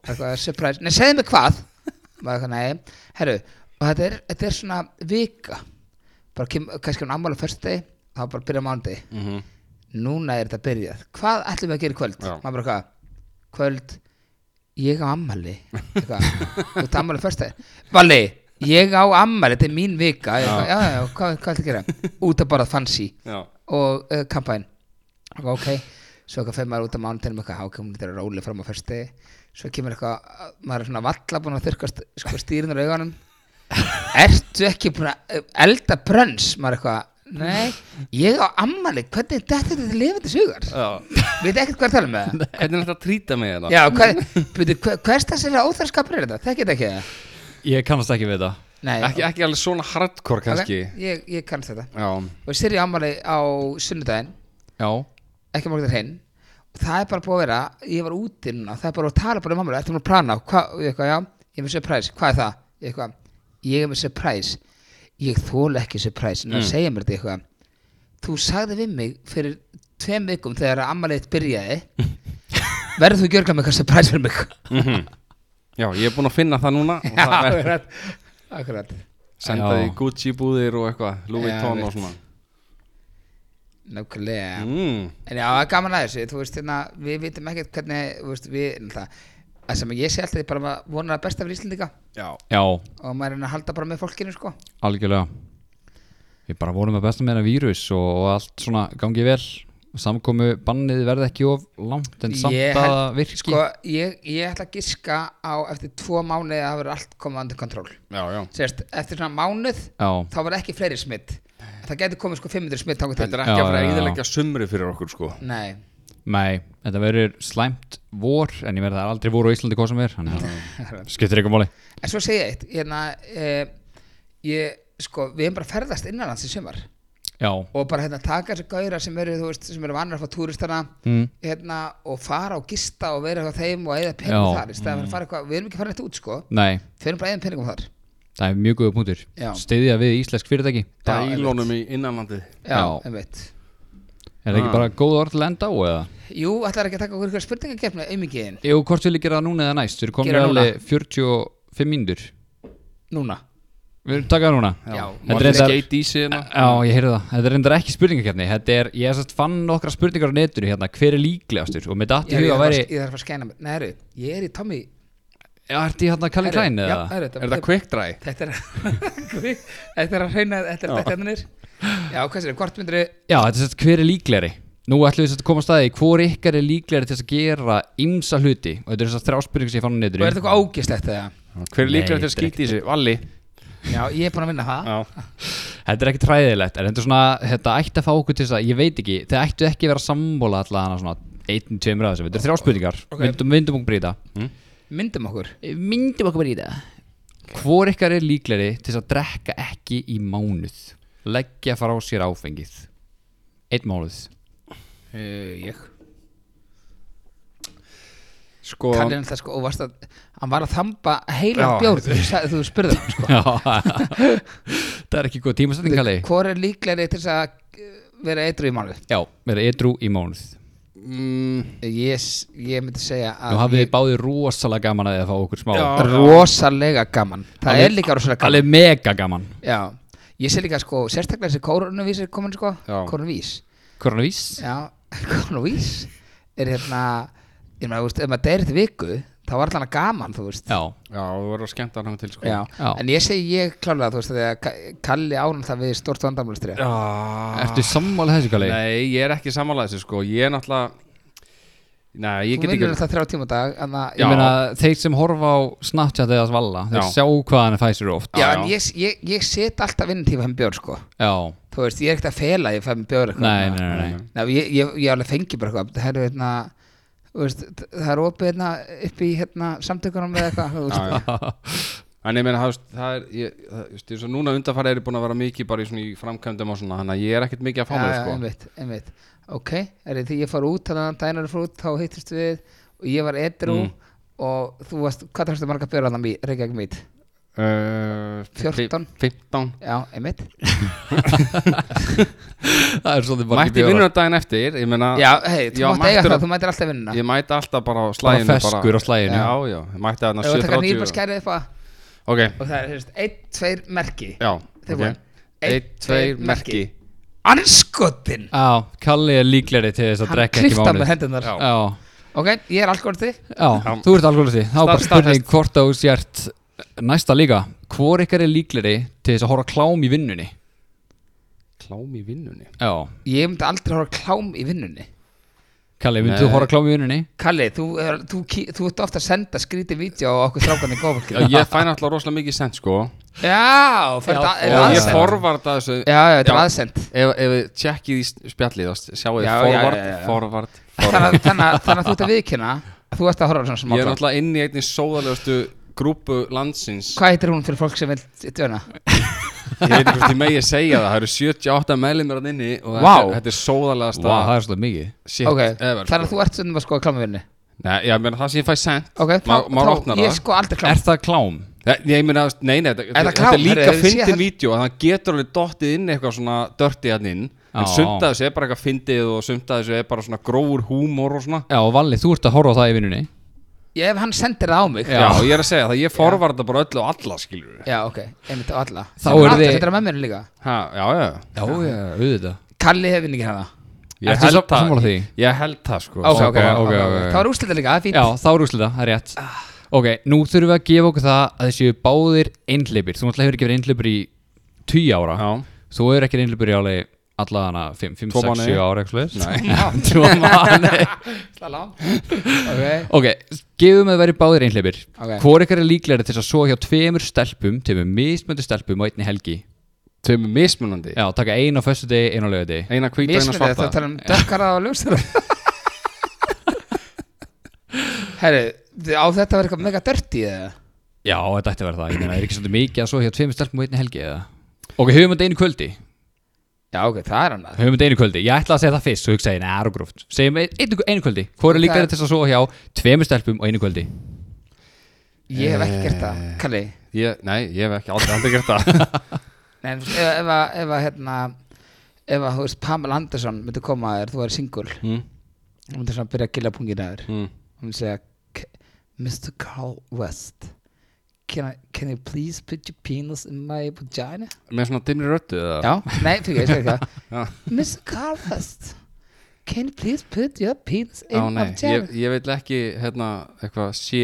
Speaker 2: Eitthvað, surprise, nei, segðu mér hvað Var eitthvað, nei, herru Og þetta er, þetta er svona vika Bara kem, kannski hún ammali á föstudegi og Þá bara byrja mándi
Speaker 3: mm
Speaker 2: núna er þetta byrjað hvað ætlum við að gera í kvöld?
Speaker 3: Já.
Speaker 2: maður bara hvað, kvöld ég á ammali Eitthvað. þú ert ammali fyrst þegar Valli, ég á ammali, þetta er mín vika já, já, já, hvað, hvað ætlum við að gera? út að bara fancy
Speaker 3: já
Speaker 2: og uh, kampæn ok, svo eitthvað fyrir maður út á mánutinum eitthvað, ok, hún er róli fram á fyrsti svo kemur eitthvað, maður er svona valla búin að þurrka st- sko, stýrinur augunum ertu ekki búin að uh, elda brönns, maður eitthvað nei, ég á ammali hvernig þetta þetta til lifandi sugar
Speaker 3: Já.
Speaker 2: veit ekkert hvað er að tala með það
Speaker 3: Hvernig er þetta að trýta með þetta?
Speaker 2: já, hvað, byrju, hver, hvers þess er það óþarskapur er þetta, þekkið þetta ekki það?
Speaker 1: ég kannast ekki við þetta
Speaker 2: nei,
Speaker 3: Ekki, ekki alveg svona hardcore
Speaker 2: ok,
Speaker 3: kannski
Speaker 2: ég, ég kannast þetta
Speaker 3: Já,
Speaker 2: og sér ég ammali á sunnudaginn
Speaker 1: Já,
Speaker 2: ekki morgun hrein og það er bara búið að vera, ég var úti núna það er bara að tala bara um mamma, ertu búin að plana Hva- og ég eitthvað, já, ég er með surprise, hvað er það ég eitthvað, ég er með surprise ég þóla ekki surprise en það segja mér þetta eitthvað þú sagði við mig fyrir tveim vikum þegar að ammaliðið byrjaði verður þú gjörgla með eitthvað surprise fyrir mig
Speaker 3: Mhm. já, ég er búinn að finna það núna og
Speaker 2: Já,
Speaker 3: það er
Speaker 2: akkurat akkurat,
Speaker 3: sendaði
Speaker 1: Já.
Speaker 3: Gucci búðir og eitthvað Louis
Speaker 2: Já,
Speaker 3: Vuitton og
Speaker 2: mitt.
Speaker 3: svona
Speaker 2: nákvæmlega
Speaker 3: mm.
Speaker 2: En já, það er gaman að þessu, þú veist, hérna, við vitum ekkert hvernig, þú veist, við, það, það sem ég sé alltaf er bara að vona að besta fyrir Íslandika
Speaker 3: Já,
Speaker 1: já,
Speaker 2: og maður er að halda bara með fólkinu sko
Speaker 1: algjörlega Við bara vonum að besta með hennar vírus og, og allt svona gangi vel Samkomu bannið verði ekki of langt en samt
Speaker 2: Ég
Speaker 1: að
Speaker 2: held-
Speaker 1: virki
Speaker 2: sko ég, ég ætla að giska á eftir tvo mánuði að það verður allt komið undir kontról
Speaker 3: já, já
Speaker 2: Sérst, eftir svona mánuð
Speaker 1: Já,
Speaker 2: þá verður ekki fleiri smitt það getur komið sko 500 smitt þangur til
Speaker 3: Þetta er ekki
Speaker 1: Já,
Speaker 3: að fara að
Speaker 1: já, já.
Speaker 3: eðilegja sumri fyrir okkur sko
Speaker 2: nei,
Speaker 1: nei, þetta verður slæmt vor en ég verði það er aldrei vor á Íslandi hvað sem er þannig að skiptir eitthvað máli
Speaker 2: en svo segi ég eitt hérna, eh, ég, sko, við erum bara að ferðast innanlands í sumar
Speaker 1: Já,
Speaker 2: og bara hérna taka þessu gauðra sem eru, þú veist, sem eru vannar að fá túristana
Speaker 1: mm,
Speaker 2: hérna, og fara og gista og vera hjá þeim og eða
Speaker 1: Já.
Speaker 2: peningum þar í staðan fyrir að fara eitthvað, við erum ekki farin eitt út sko
Speaker 1: nei,
Speaker 2: við erum bara eða peningum þar
Speaker 1: það er mjög góða punktur
Speaker 2: Já.
Speaker 1: Styðja við íslensk fyrirtæki
Speaker 2: Já,
Speaker 3: Dælónum í innanlandið
Speaker 2: já,
Speaker 1: Já.
Speaker 2: einmitt
Speaker 1: Er það
Speaker 3: Ah.
Speaker 1: ekki bara góð orð til að enda á eða?
Speaker 2: Jú, ætlar ekki að taka okkur eitthvað spurningakefni auðmingiðin
Speaker 1: Jú, hvort vil ég gera það núna eða næst? Við erum komin
Speaker 2: Gera
Speaker 1: í
Speaker 2: núna.
Speaker 1: alveg 45 mínútur
Speaker 2: núna
Speaker 1: Við erum takað núna
Speaker 2: Já.
Speaker 1: Þetta
Speaker 3: Var
Speaker 1: er
Speaker 3: þetta
Speaker 1: reyndar-
Speaker 3: skeit í sig hérna?
Speaker 1: Já, ég heyrði það. Þetta er reyndar ekki spurningakefni. Þetta er, ég hef sérst fann nokkra spurningar á netinu hérna, hver er líklegastur? Og mér datt í
Speaker 2: Ég, ég,
Speaker 1: huga
Speaker 2: þarf
Speaker 1: að
Speaker 2: að-
Speaker 1: væri,
Speaker 2: ég þarf að fara að skæna mig Nei, heyrðu, ég er í Tommy
Speaker 1: já, ertu í hérna Kalli
Speaker 2: Heyrðu,
Speaker 1: Klein
Speaker 2: já,
Speaker 1: eða?
Speaker 2: heyrðu,
Speaker 3: Er þetta quick dry?
Speaker 2: Þetta er Þetta er að hreina Þetta er þetta hennir Já, hvað sér, hvort myndir
Speaker 1: Já, þetta er sérst hver er líklegri? Nú ætlum við sérst að koma að staði, hvor ykkar er líklegri til þess að gera ymsa hluti? Og þetta er þessar þrjá spurningar sem ég fann á
Speaker 2: Og
Speaker 1: netinu.
Speaker 2: er þetta eitthvað ógislegt eða?
Speaker 3: Hver er
Speaker 1: Nei,
Speaker 3: líklega til að
Speaker 1: þetta er
Speaker 3: skeita í sig? Valli
Speaker 2: Já, ég er búin að vinna það
Speaker 1: Þetta er ekki træðilegt, en þetta er svona, þetta ætti að fá okkur til þess að, ég veit ekki, þið ættu ekki að vera sammála allavega hana svona einn, tveimur að þessu, þetta er þrjá spurningar,
Speaker 2: Ok.
Speaker 1: myndum, myndum okkur brýta.
Speaker 2: Myndum okkur
Speaker 1: Myndum okkur brýta. Hvor ykkar er líklegri til þess að drekka ekki í mánuð? Leggja frá sér áfengið. Einn mánuð.
Speaker 2: uh, Ég
Speaker 3: Sko
Speaker 2: Kallir hann það sko Og varst að Hann var að þamba heila
Speaker 3: Já.
Speaker 2: bjór Þú, sa- þú spurði hann sko
Speaker 1: Já, það er ekki góð tímasetning, Kalli.
Speaker 2: Hvor er líklegri til þess að eh, vera eitru í mánuð?
Speaker 1: Já, vera edru í mánuð.
Speaker 3: mm,
Speaker 2: Ég, s- ég myndi segja að
Speaker 1: Nú hafið
Speaker 2: ég,
Speaker 1: þið báðið rosalega gaman að þið að fá okkur smá.
Speaker 3: Já.
Speaker 2: rosalega gaman Það
Speaker 1: Alveg-
Speaker 2: er líka rosalega gaman
Speaker 1: Alveg mega gaman.
Speaker 2: Já, ég sé líka sko, sérstaklega þessi koronavís er komin sko,
Speaker 3: Já.
Speaker 2: koronavís
Speaker 1: Koronavís.
Speaker 2: Já, koronavís er hérna, ég maður, þú veist, ef maður deyrir til viku, þá var allan að gaman, þú veist
Speaker 1: Já,
Speaker 3: Já, þú verður að skemmta hann til sko
Speaker 2: Já.
Speaker 1: Já.
Speaker 2: en ég segi ég klálega, þú veist, þegar Ka- Kalli ánum það við stórt vandamálistri
Speaker 3: Já
Speaker 1: ertu sammála þessu, Kalli?
Speaker 3: Nei, ég er ekki samanlega þessu sko Ég er náttúrulega Nei, ég
Speaker 2: Þú
Speaker 3: get ekki
Speaker 2: vinnur það þrjá tíma á dag, en það
Speaker 1: Ég
Speaker 3: Já.
Speaker 1: meina, þeir sem horfa á Snapchat eða Svalla, þeir
Speaker 3: Já.
Speaker 1: sjá hvað hann fæsir oft.
Speaker 2: Já,
Speaker 3: Já,
Speaker 2: en
Speaker 3: já.
Speaker 2: ég, ég, ég set alltaf vinn tíma hann björn, sko
Speaker 1: Já,
Speaker 2: Þú veist, ég er ekkert að fela, ég fæm björn
Speaker 1: nei, nei, nei, nei.
Speaker 2: Nei, ég, ég, ég alveg fengi bara eitthvað Það eru hérna þú veist, Það er opið hérna upp í hérna samtökunum eða eitthvað þú veist.
Speaker 3: Já, já. En ég meina, það, veist, það er ég, það, þú veist, ég, svo Núna undanfæri er ég búin að vera mikið bara í, svona, í framkvæmdum og svona Þannig að ég er ekkert mikið að fá
Speaker 2: Já,
Speaker 3: mér
Speaker 2: já,
Speaker 3: sko
Speaker 2: einmitt, einmitt. ok, er því ég fór út þannig að dænar fór út, þá hittist við og ég var edru
Speaker 3: Mm.
Speaker 2: og þú varst, hvað þarfstu marga björn hann í Reykjavík mít?
Speaker 3: Uh,
Speaker 2: 14.
Speaker 3: 15
Speaker 2: Já, einmitt
Speaker 1: Það er svolítið bara
Speaker 3: Mætti vinnur daginn eftir Ég meina
Speaker 2: Já, hérna. hei, þú
Speaker 3: Já,
Speaker 2: mátt eiga
Speaker 3: mættur
Speaker 2: það,
Speaker 3: að-
Speaker 2: þú mættir alltaf vinnuna
Speaker 3: Ég mætti alltaf bara á
Speaker 1: Bara
Speaker 3: slæginu
Speaker 1: feskur á slæginu.
Speaker 3: Já, já, ég mætti þarna
Speaker 2: Ef þú taka
Speaker 3: 7.30
Speaker 2: nýrbúr skærið upp að
Speaker 3: Ok,
Speaker 2: og það er, þú veist, einn, tveir merki
Speaker 3: já,
Speaker 2: Þeir
Speaker 3: ok
Speaker 2: voru-
Speaker 3: Eitt, tveir, merki
Speaker 2: Anskotin!
Speaker 1: Já, Kalli er líklegri til þess að
Speaker 2: Hann
Speaker 1: drekka ekki
Speaker 2: kryfta
Speaker 1: mánuð.
Speaker 2: með hendunar
Speaker 3: Já.
Speaker 1: Já,
Speaker 2: Ok, ég er alkoholti
Speaker 1: já,
Speaker 3: Já.
Speaker 1: þú ert alkoholisti. Þá er bara
Speaker 3: Staðfest.
Speaker 1: spurning hvort að þú sért næsta líka. Hvor ykkar er líklegri til þess að horfa á klám í vinnunni?
Speaker 3: Klám í vinnunni
Speaker 1: Já,
Speaker 2: Ég myndi aldrei horfa á klám í vinnunni
Speaker 1: Kalli, myndið
Speaker 3: Nei.
Speaker 1: þú horfa á klám í vinnunni?
Speaker 2: Kalli, þú, er, þú, þú, þú ert ofta að senda skrítið vídeo á okkur strákan í
Speaker 3: Já,
Speaker 2: góðfólkinu
Speaker 3: Ég fæ náttúrulega rosalega mikið sent sko
Speaker 2: Já, fyrir
Speaker 1: Já,
Speaker 2: það er
Speaker 3: Og ég
Speaker 2: aðsend
Speaker 3: forvarda þessu
Speaker 2: Já, já, þetta er
Speaker 3: Já.
Speaker 2: aðsend
Speaker 3: Ef ef þið tjekkið í s- spjallið þá sjáu þið
Speaker 2: Já, já,
Speaker 3: forvard,
Speaker 2: já, já, já.
Speaker 3: forvard
Speaker 2: Þannig að- þannig að þannig að þú ert að viðkynna að Þú ert að horfa á svona
Speaker 3: Ég er
Speaker 2: smáklám
Speaker 3: náttúrulega inn í einni sóðalegustu grúpu landsins
Speaker 2: Hvað heitir hún fyrir fólk sem vil djöna?
Speaker 3: Ég veit ekki hvort ég megi að segja það Það eru 78 meðlumir að inni Og þetta,
Speaker 2: Vá.
Speaker 3: er- þetta er sóðalegasta
Speaker 1: Vá, það er svolítið mikið.
Speaker 3: shit
Speaker 2: Ok,
Speaker 3: ever, sko.
Speaker 2: þannig að þú ert stundum að skoða klámavinni
Speaker 3: Nei, ég meina það sem ég fæ sent
Speaker 2: Ok,
Speaker 3: Ma-
Speaker 2: þá-
Speaker 3: maður
Speaker 2: þá-
Speaker 3: opnar
Speaker 2: ég
Speaker 3: það.
Speaker 2: sko aldrei klám
Speaker 1: Er það klám?
Speaker 3: Nei, Ég meina, nei, nei, þetta,
Speaker 2: það
Speaker 3: þetta,
Speaker 2: klám?
Speaker 3: er líka
Speaker 2: Herru, ég sé
Speaker 3: fyndin
Speaker 2: það.
Speaker 3: vídeo að það getur alveg dottið inn eitthvað svona dörtið hann inn en
Speaker 1: Já.
Speaker 3: sumt af þessu er bara eitthvað fyndið og sumt af þessu er bara svona grófur húmor og svona
Speaker 1: Já, Valli, þú ert að horfa á það í vinnunni.
Speaker 2: Ég ef hann sendir það á mig
Speaker 3: Já, ég er að segja það, ég forvarða bara öllu og alla skilur við
Speaker 2: Já, ok, einmitt á alla
Speaker 1: Þá
Speaker 2: Þú
Speaker 1: eru
Speaker 2: aldrei
Speaker 1: þið-
Speaker 2: sendir það með mér líka
Speaker 3: Ha, já, já,
Speaker 1: Já, já, auðvitað.
Speaker 2: Kalli hefur ekki hana
Speaker 1: Ertu
Speaker 3: ég held
Speaker 1: sam- sammála
Speaker 3: það
Speaker 1: því?
Speaker 3: Ég held það sko
Speaker 2: Ok, ok,
Speaker 1: ok,
Speaker 2: ok
Speaker 1: ok, ok.
Speaker 2: Það var úrslita líka, það er fínt
Speaker 1: Já, þá er úrslita, það er rétt Ok, nú þurfum við að gefa okkur það að þessi báðir einhleipir Þú náttúrulega hefur ekki verið einhleipir í 10 ára
Speaker 3: Já,
Speaker 1: Þú hefur ekki verið einhleipir í alveg allan að 5, 5,
Speaker 3: Tvo
Speaker 1: 6,
Speaker 3: mánuði.
Speaker 1: 7 ára eitthvað
Speaker 2: Já.
Speaker 1: svoleiðis. Tvo mánuði.
Speaker 2: Það er langt. Ok,
Speaker 1: Ok, gefum við að vera báðir einhleipir
Speaker 2: Ok.
Speaker 1: Hvor ykkar er líklegri til þess að svo hjá tveimur stelpum Tveimur mismöndu stelpum á einni helgi
Speaker 3: tveimur mismunandi
Speaker 1: Já, taka eina á föstu degi, eina á lögu degi
Speaker 3: Eina hvít og eina
Speaker 2: mismunandi þá
Speaker 3: svarta
Speaker 2: tala um dökkara og ljósara Herru, þið- á þetta verður eitthvað mega dörti eða?
Speaker 1: Já, þetta ætti að vera það Ég meina, er ekki svolítið mikið að svo hjá tveimur stelpum á einni helgi eða Ok, höfum þetta einu kvöldi
Speaker 2: Já, ok, það er hann að
Speaker 1: höfum þetta einu kvöldi, ég ætla að segja það fyrst og hugsa ég, neða, það er gróft, segjum ein- einu, einu kvöldi hvað er líka
Speaker 2: Það-
Speaker 1: til þess að sofa hjá tveimur stelpum og einu kvöldi
Speaker 2: Ég hef ekki gert það, Kalli
Speaker 3: ég, Nei, ég hef ekki aldrei, aldrei gert það
Speaker 2: Nei, en þú veist, ef, ef, að- ef að, hérna Ef að, þú veist, Pamela Anderson myndi koma að þér, þú væri singul
Speaker 3: Mm,
Speaker 2: Hún myndi svona byrja að gilla pungin að þér
Speaker 3: mm.
Speaker 2: Hún myndi segja "K- Mr. Carl West can, I, can you please put your penis in my vagina?
Speaker 3: Með svona dimri röttu eða?
Speaker 2: Já, nei, fyrir ég segir
Speaker 3: Já.
Speaker 2: það Mr. Carfest Can you please put your penis in
Speaker 3: Á,
Speaker 2: my
Speaker 3: nei,
Speaker 2: vagina?
Speaker 3: ég, ég veit ekki hérna eitthvað sé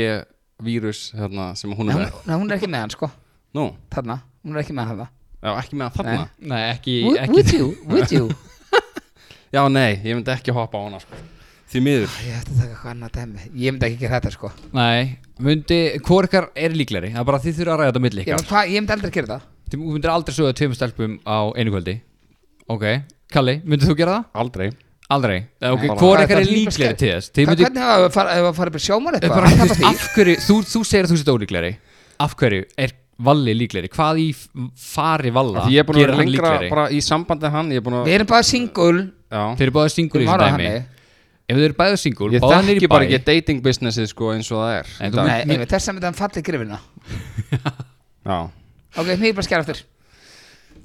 Speaker 3: vírus hérna sem hún
Speaker 2: Nei, hún,
Speaker 3: er með.
Speaker 2: nei, hún er ekki með hann sko
Speaker 3: Nú,
Speaker 2: Þarna, hún er ekki með hann það
Speaker 3: já, ekki með þarna.
Speaker 2: Nei.
Speaker 1: Nei, ekki,
Speaker 2: Would-
Speaker 1: ekki
Speaker 2: Would you, would you
Speaker 3: Já, nei, ég myndi ekki hoppa á hana sko. Því miður.
Speaker 2: Ég ætti að taka eitthvað annað dæmi Ég myndi ekki gera þetta sko
Speaker 1: Nei, myndi, hvor ykkar er líklegri? Það er bara þið þurfa að ræða þetta á milli
Speaker 2: Ég,
Speaker 1: ykkar
Speaker 2: menn, hva, ég myndi aldrei gera það
Speaker 1: Þú myndir aldrei sögja tveim stelpum á einu kvöldi Ok, Kalli, myndir þú gera það?
Speaker 3: Aldrei.
Speaker 1: Aldrei Eh, Ok,
Speaker 3: Bara-
Speaker 1: hvor
Speaker 2: Hvað,
Speaker 1: ykkar
Speaker 2: það
Speaker 1: er
Speaker 2: er líka
Speaker 1: líklegri
Speaker 2: skemmt.
Speaker 1: til þess? Þið
Speaker 2: Hvað-
Speaker 1: myndir,
Speaker 2: Hvernig hefur farið að fara upp í sjómar
Speaker 1: Eh,
Speaker 2: eitthvað?
Speaker 1: bara,
Speaker 2: Hann
Speaker 1: þú veist,
Speaker 2: tapar því.
Speaker 1: af hverju, þú, þú segir að þú sétt ólíklegri Af hverju er Valli líklegri? Hvað í f- fari Valla
Speaker 3: Af Því ég er búin að
Speaker 1: gerir
Speaker 3: vera
Speaker 1: hann
Speaker 3: lengra
Speaker 1: líklegri?
Speaker 3: bara í sambandi við hann, ég er búin að,
Speaker 2: Við erum bara single um
Speaker 3: já.
Speaker 1: Þeir eru báðið singul í
Speaker 2: Við
Speaker 1: þessu
Speaker 2: varum
Speaker 1: dæmi
Speaker 2: þannig.
Speaker 1: Ef þeir eru bæðið singul,
Speaker 3: Ég
Speaker 1: báðið niður í
Speaker 3: þekki bara
Speaker 1: bæ
Speaker 3: ekki dating businessið sko eins og það er.
Speaker 1: Nei,
Speaker 3: í
Speaker 1: þú-
Speaker 3: dag.
Speaker 2: Nei, einmitt, þess að myndi hann falli grifina
Speaker 3: Já.
Speaker 2: Ok, mér er bara að skera aftur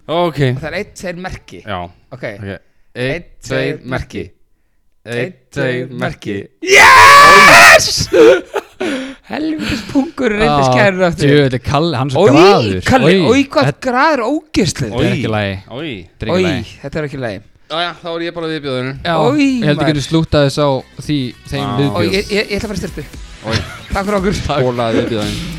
Speaker 3: Ok.
Speaker 2: Það er eitt, tveir merki
Speaker 3: Já.
Speaker 2: Ok,
Speaker 3: Ok.
Speaker 2: Einn,
Speaker 3: Eitt,
Speaker 2: tveir,
Speaker 3: tveir, merki.
Speaker 2: Einn,
Speaker 3: Eitt, tveir, merki.
Speaker 2: helvitis pungur er reyndi skæður aftur
Speaker 1: Jöðu, Kalli, hann Ah, er svo
Speaker 2: Ói,
Speaker 1: graður
Speaker 2: Kalli,
Speaker 1: Oj,
Speaker 2: ói, hvað græður ógislu
Speaker 1: Oj. er ekki í lagi.
Speaker 3: Ói.
Speaker 1: þetta er ekki
Speaker 2: Ói,
Speaker 1: lagi.
Speaker 2: þetta er ekki lægi
Speaker 3: Jæja, þá er ég bara viðbjöðurinn.
Speaker 1: Já,
Speaker 2: Oj,
Speaker 1: ég held
Speaker 2: maður.
Speaker 1: ekki að slúta þess á því, þeim
Speaker 3: Á.
Speaker 1: viðbjóð
Speaker 2: Ói, ég, ég, ég ætla bara að styrtu
Speaker 3: Ói.
Speaker 2: Takk fyrir okkur
Speaker 3: Bólaði viðbjöðurinn.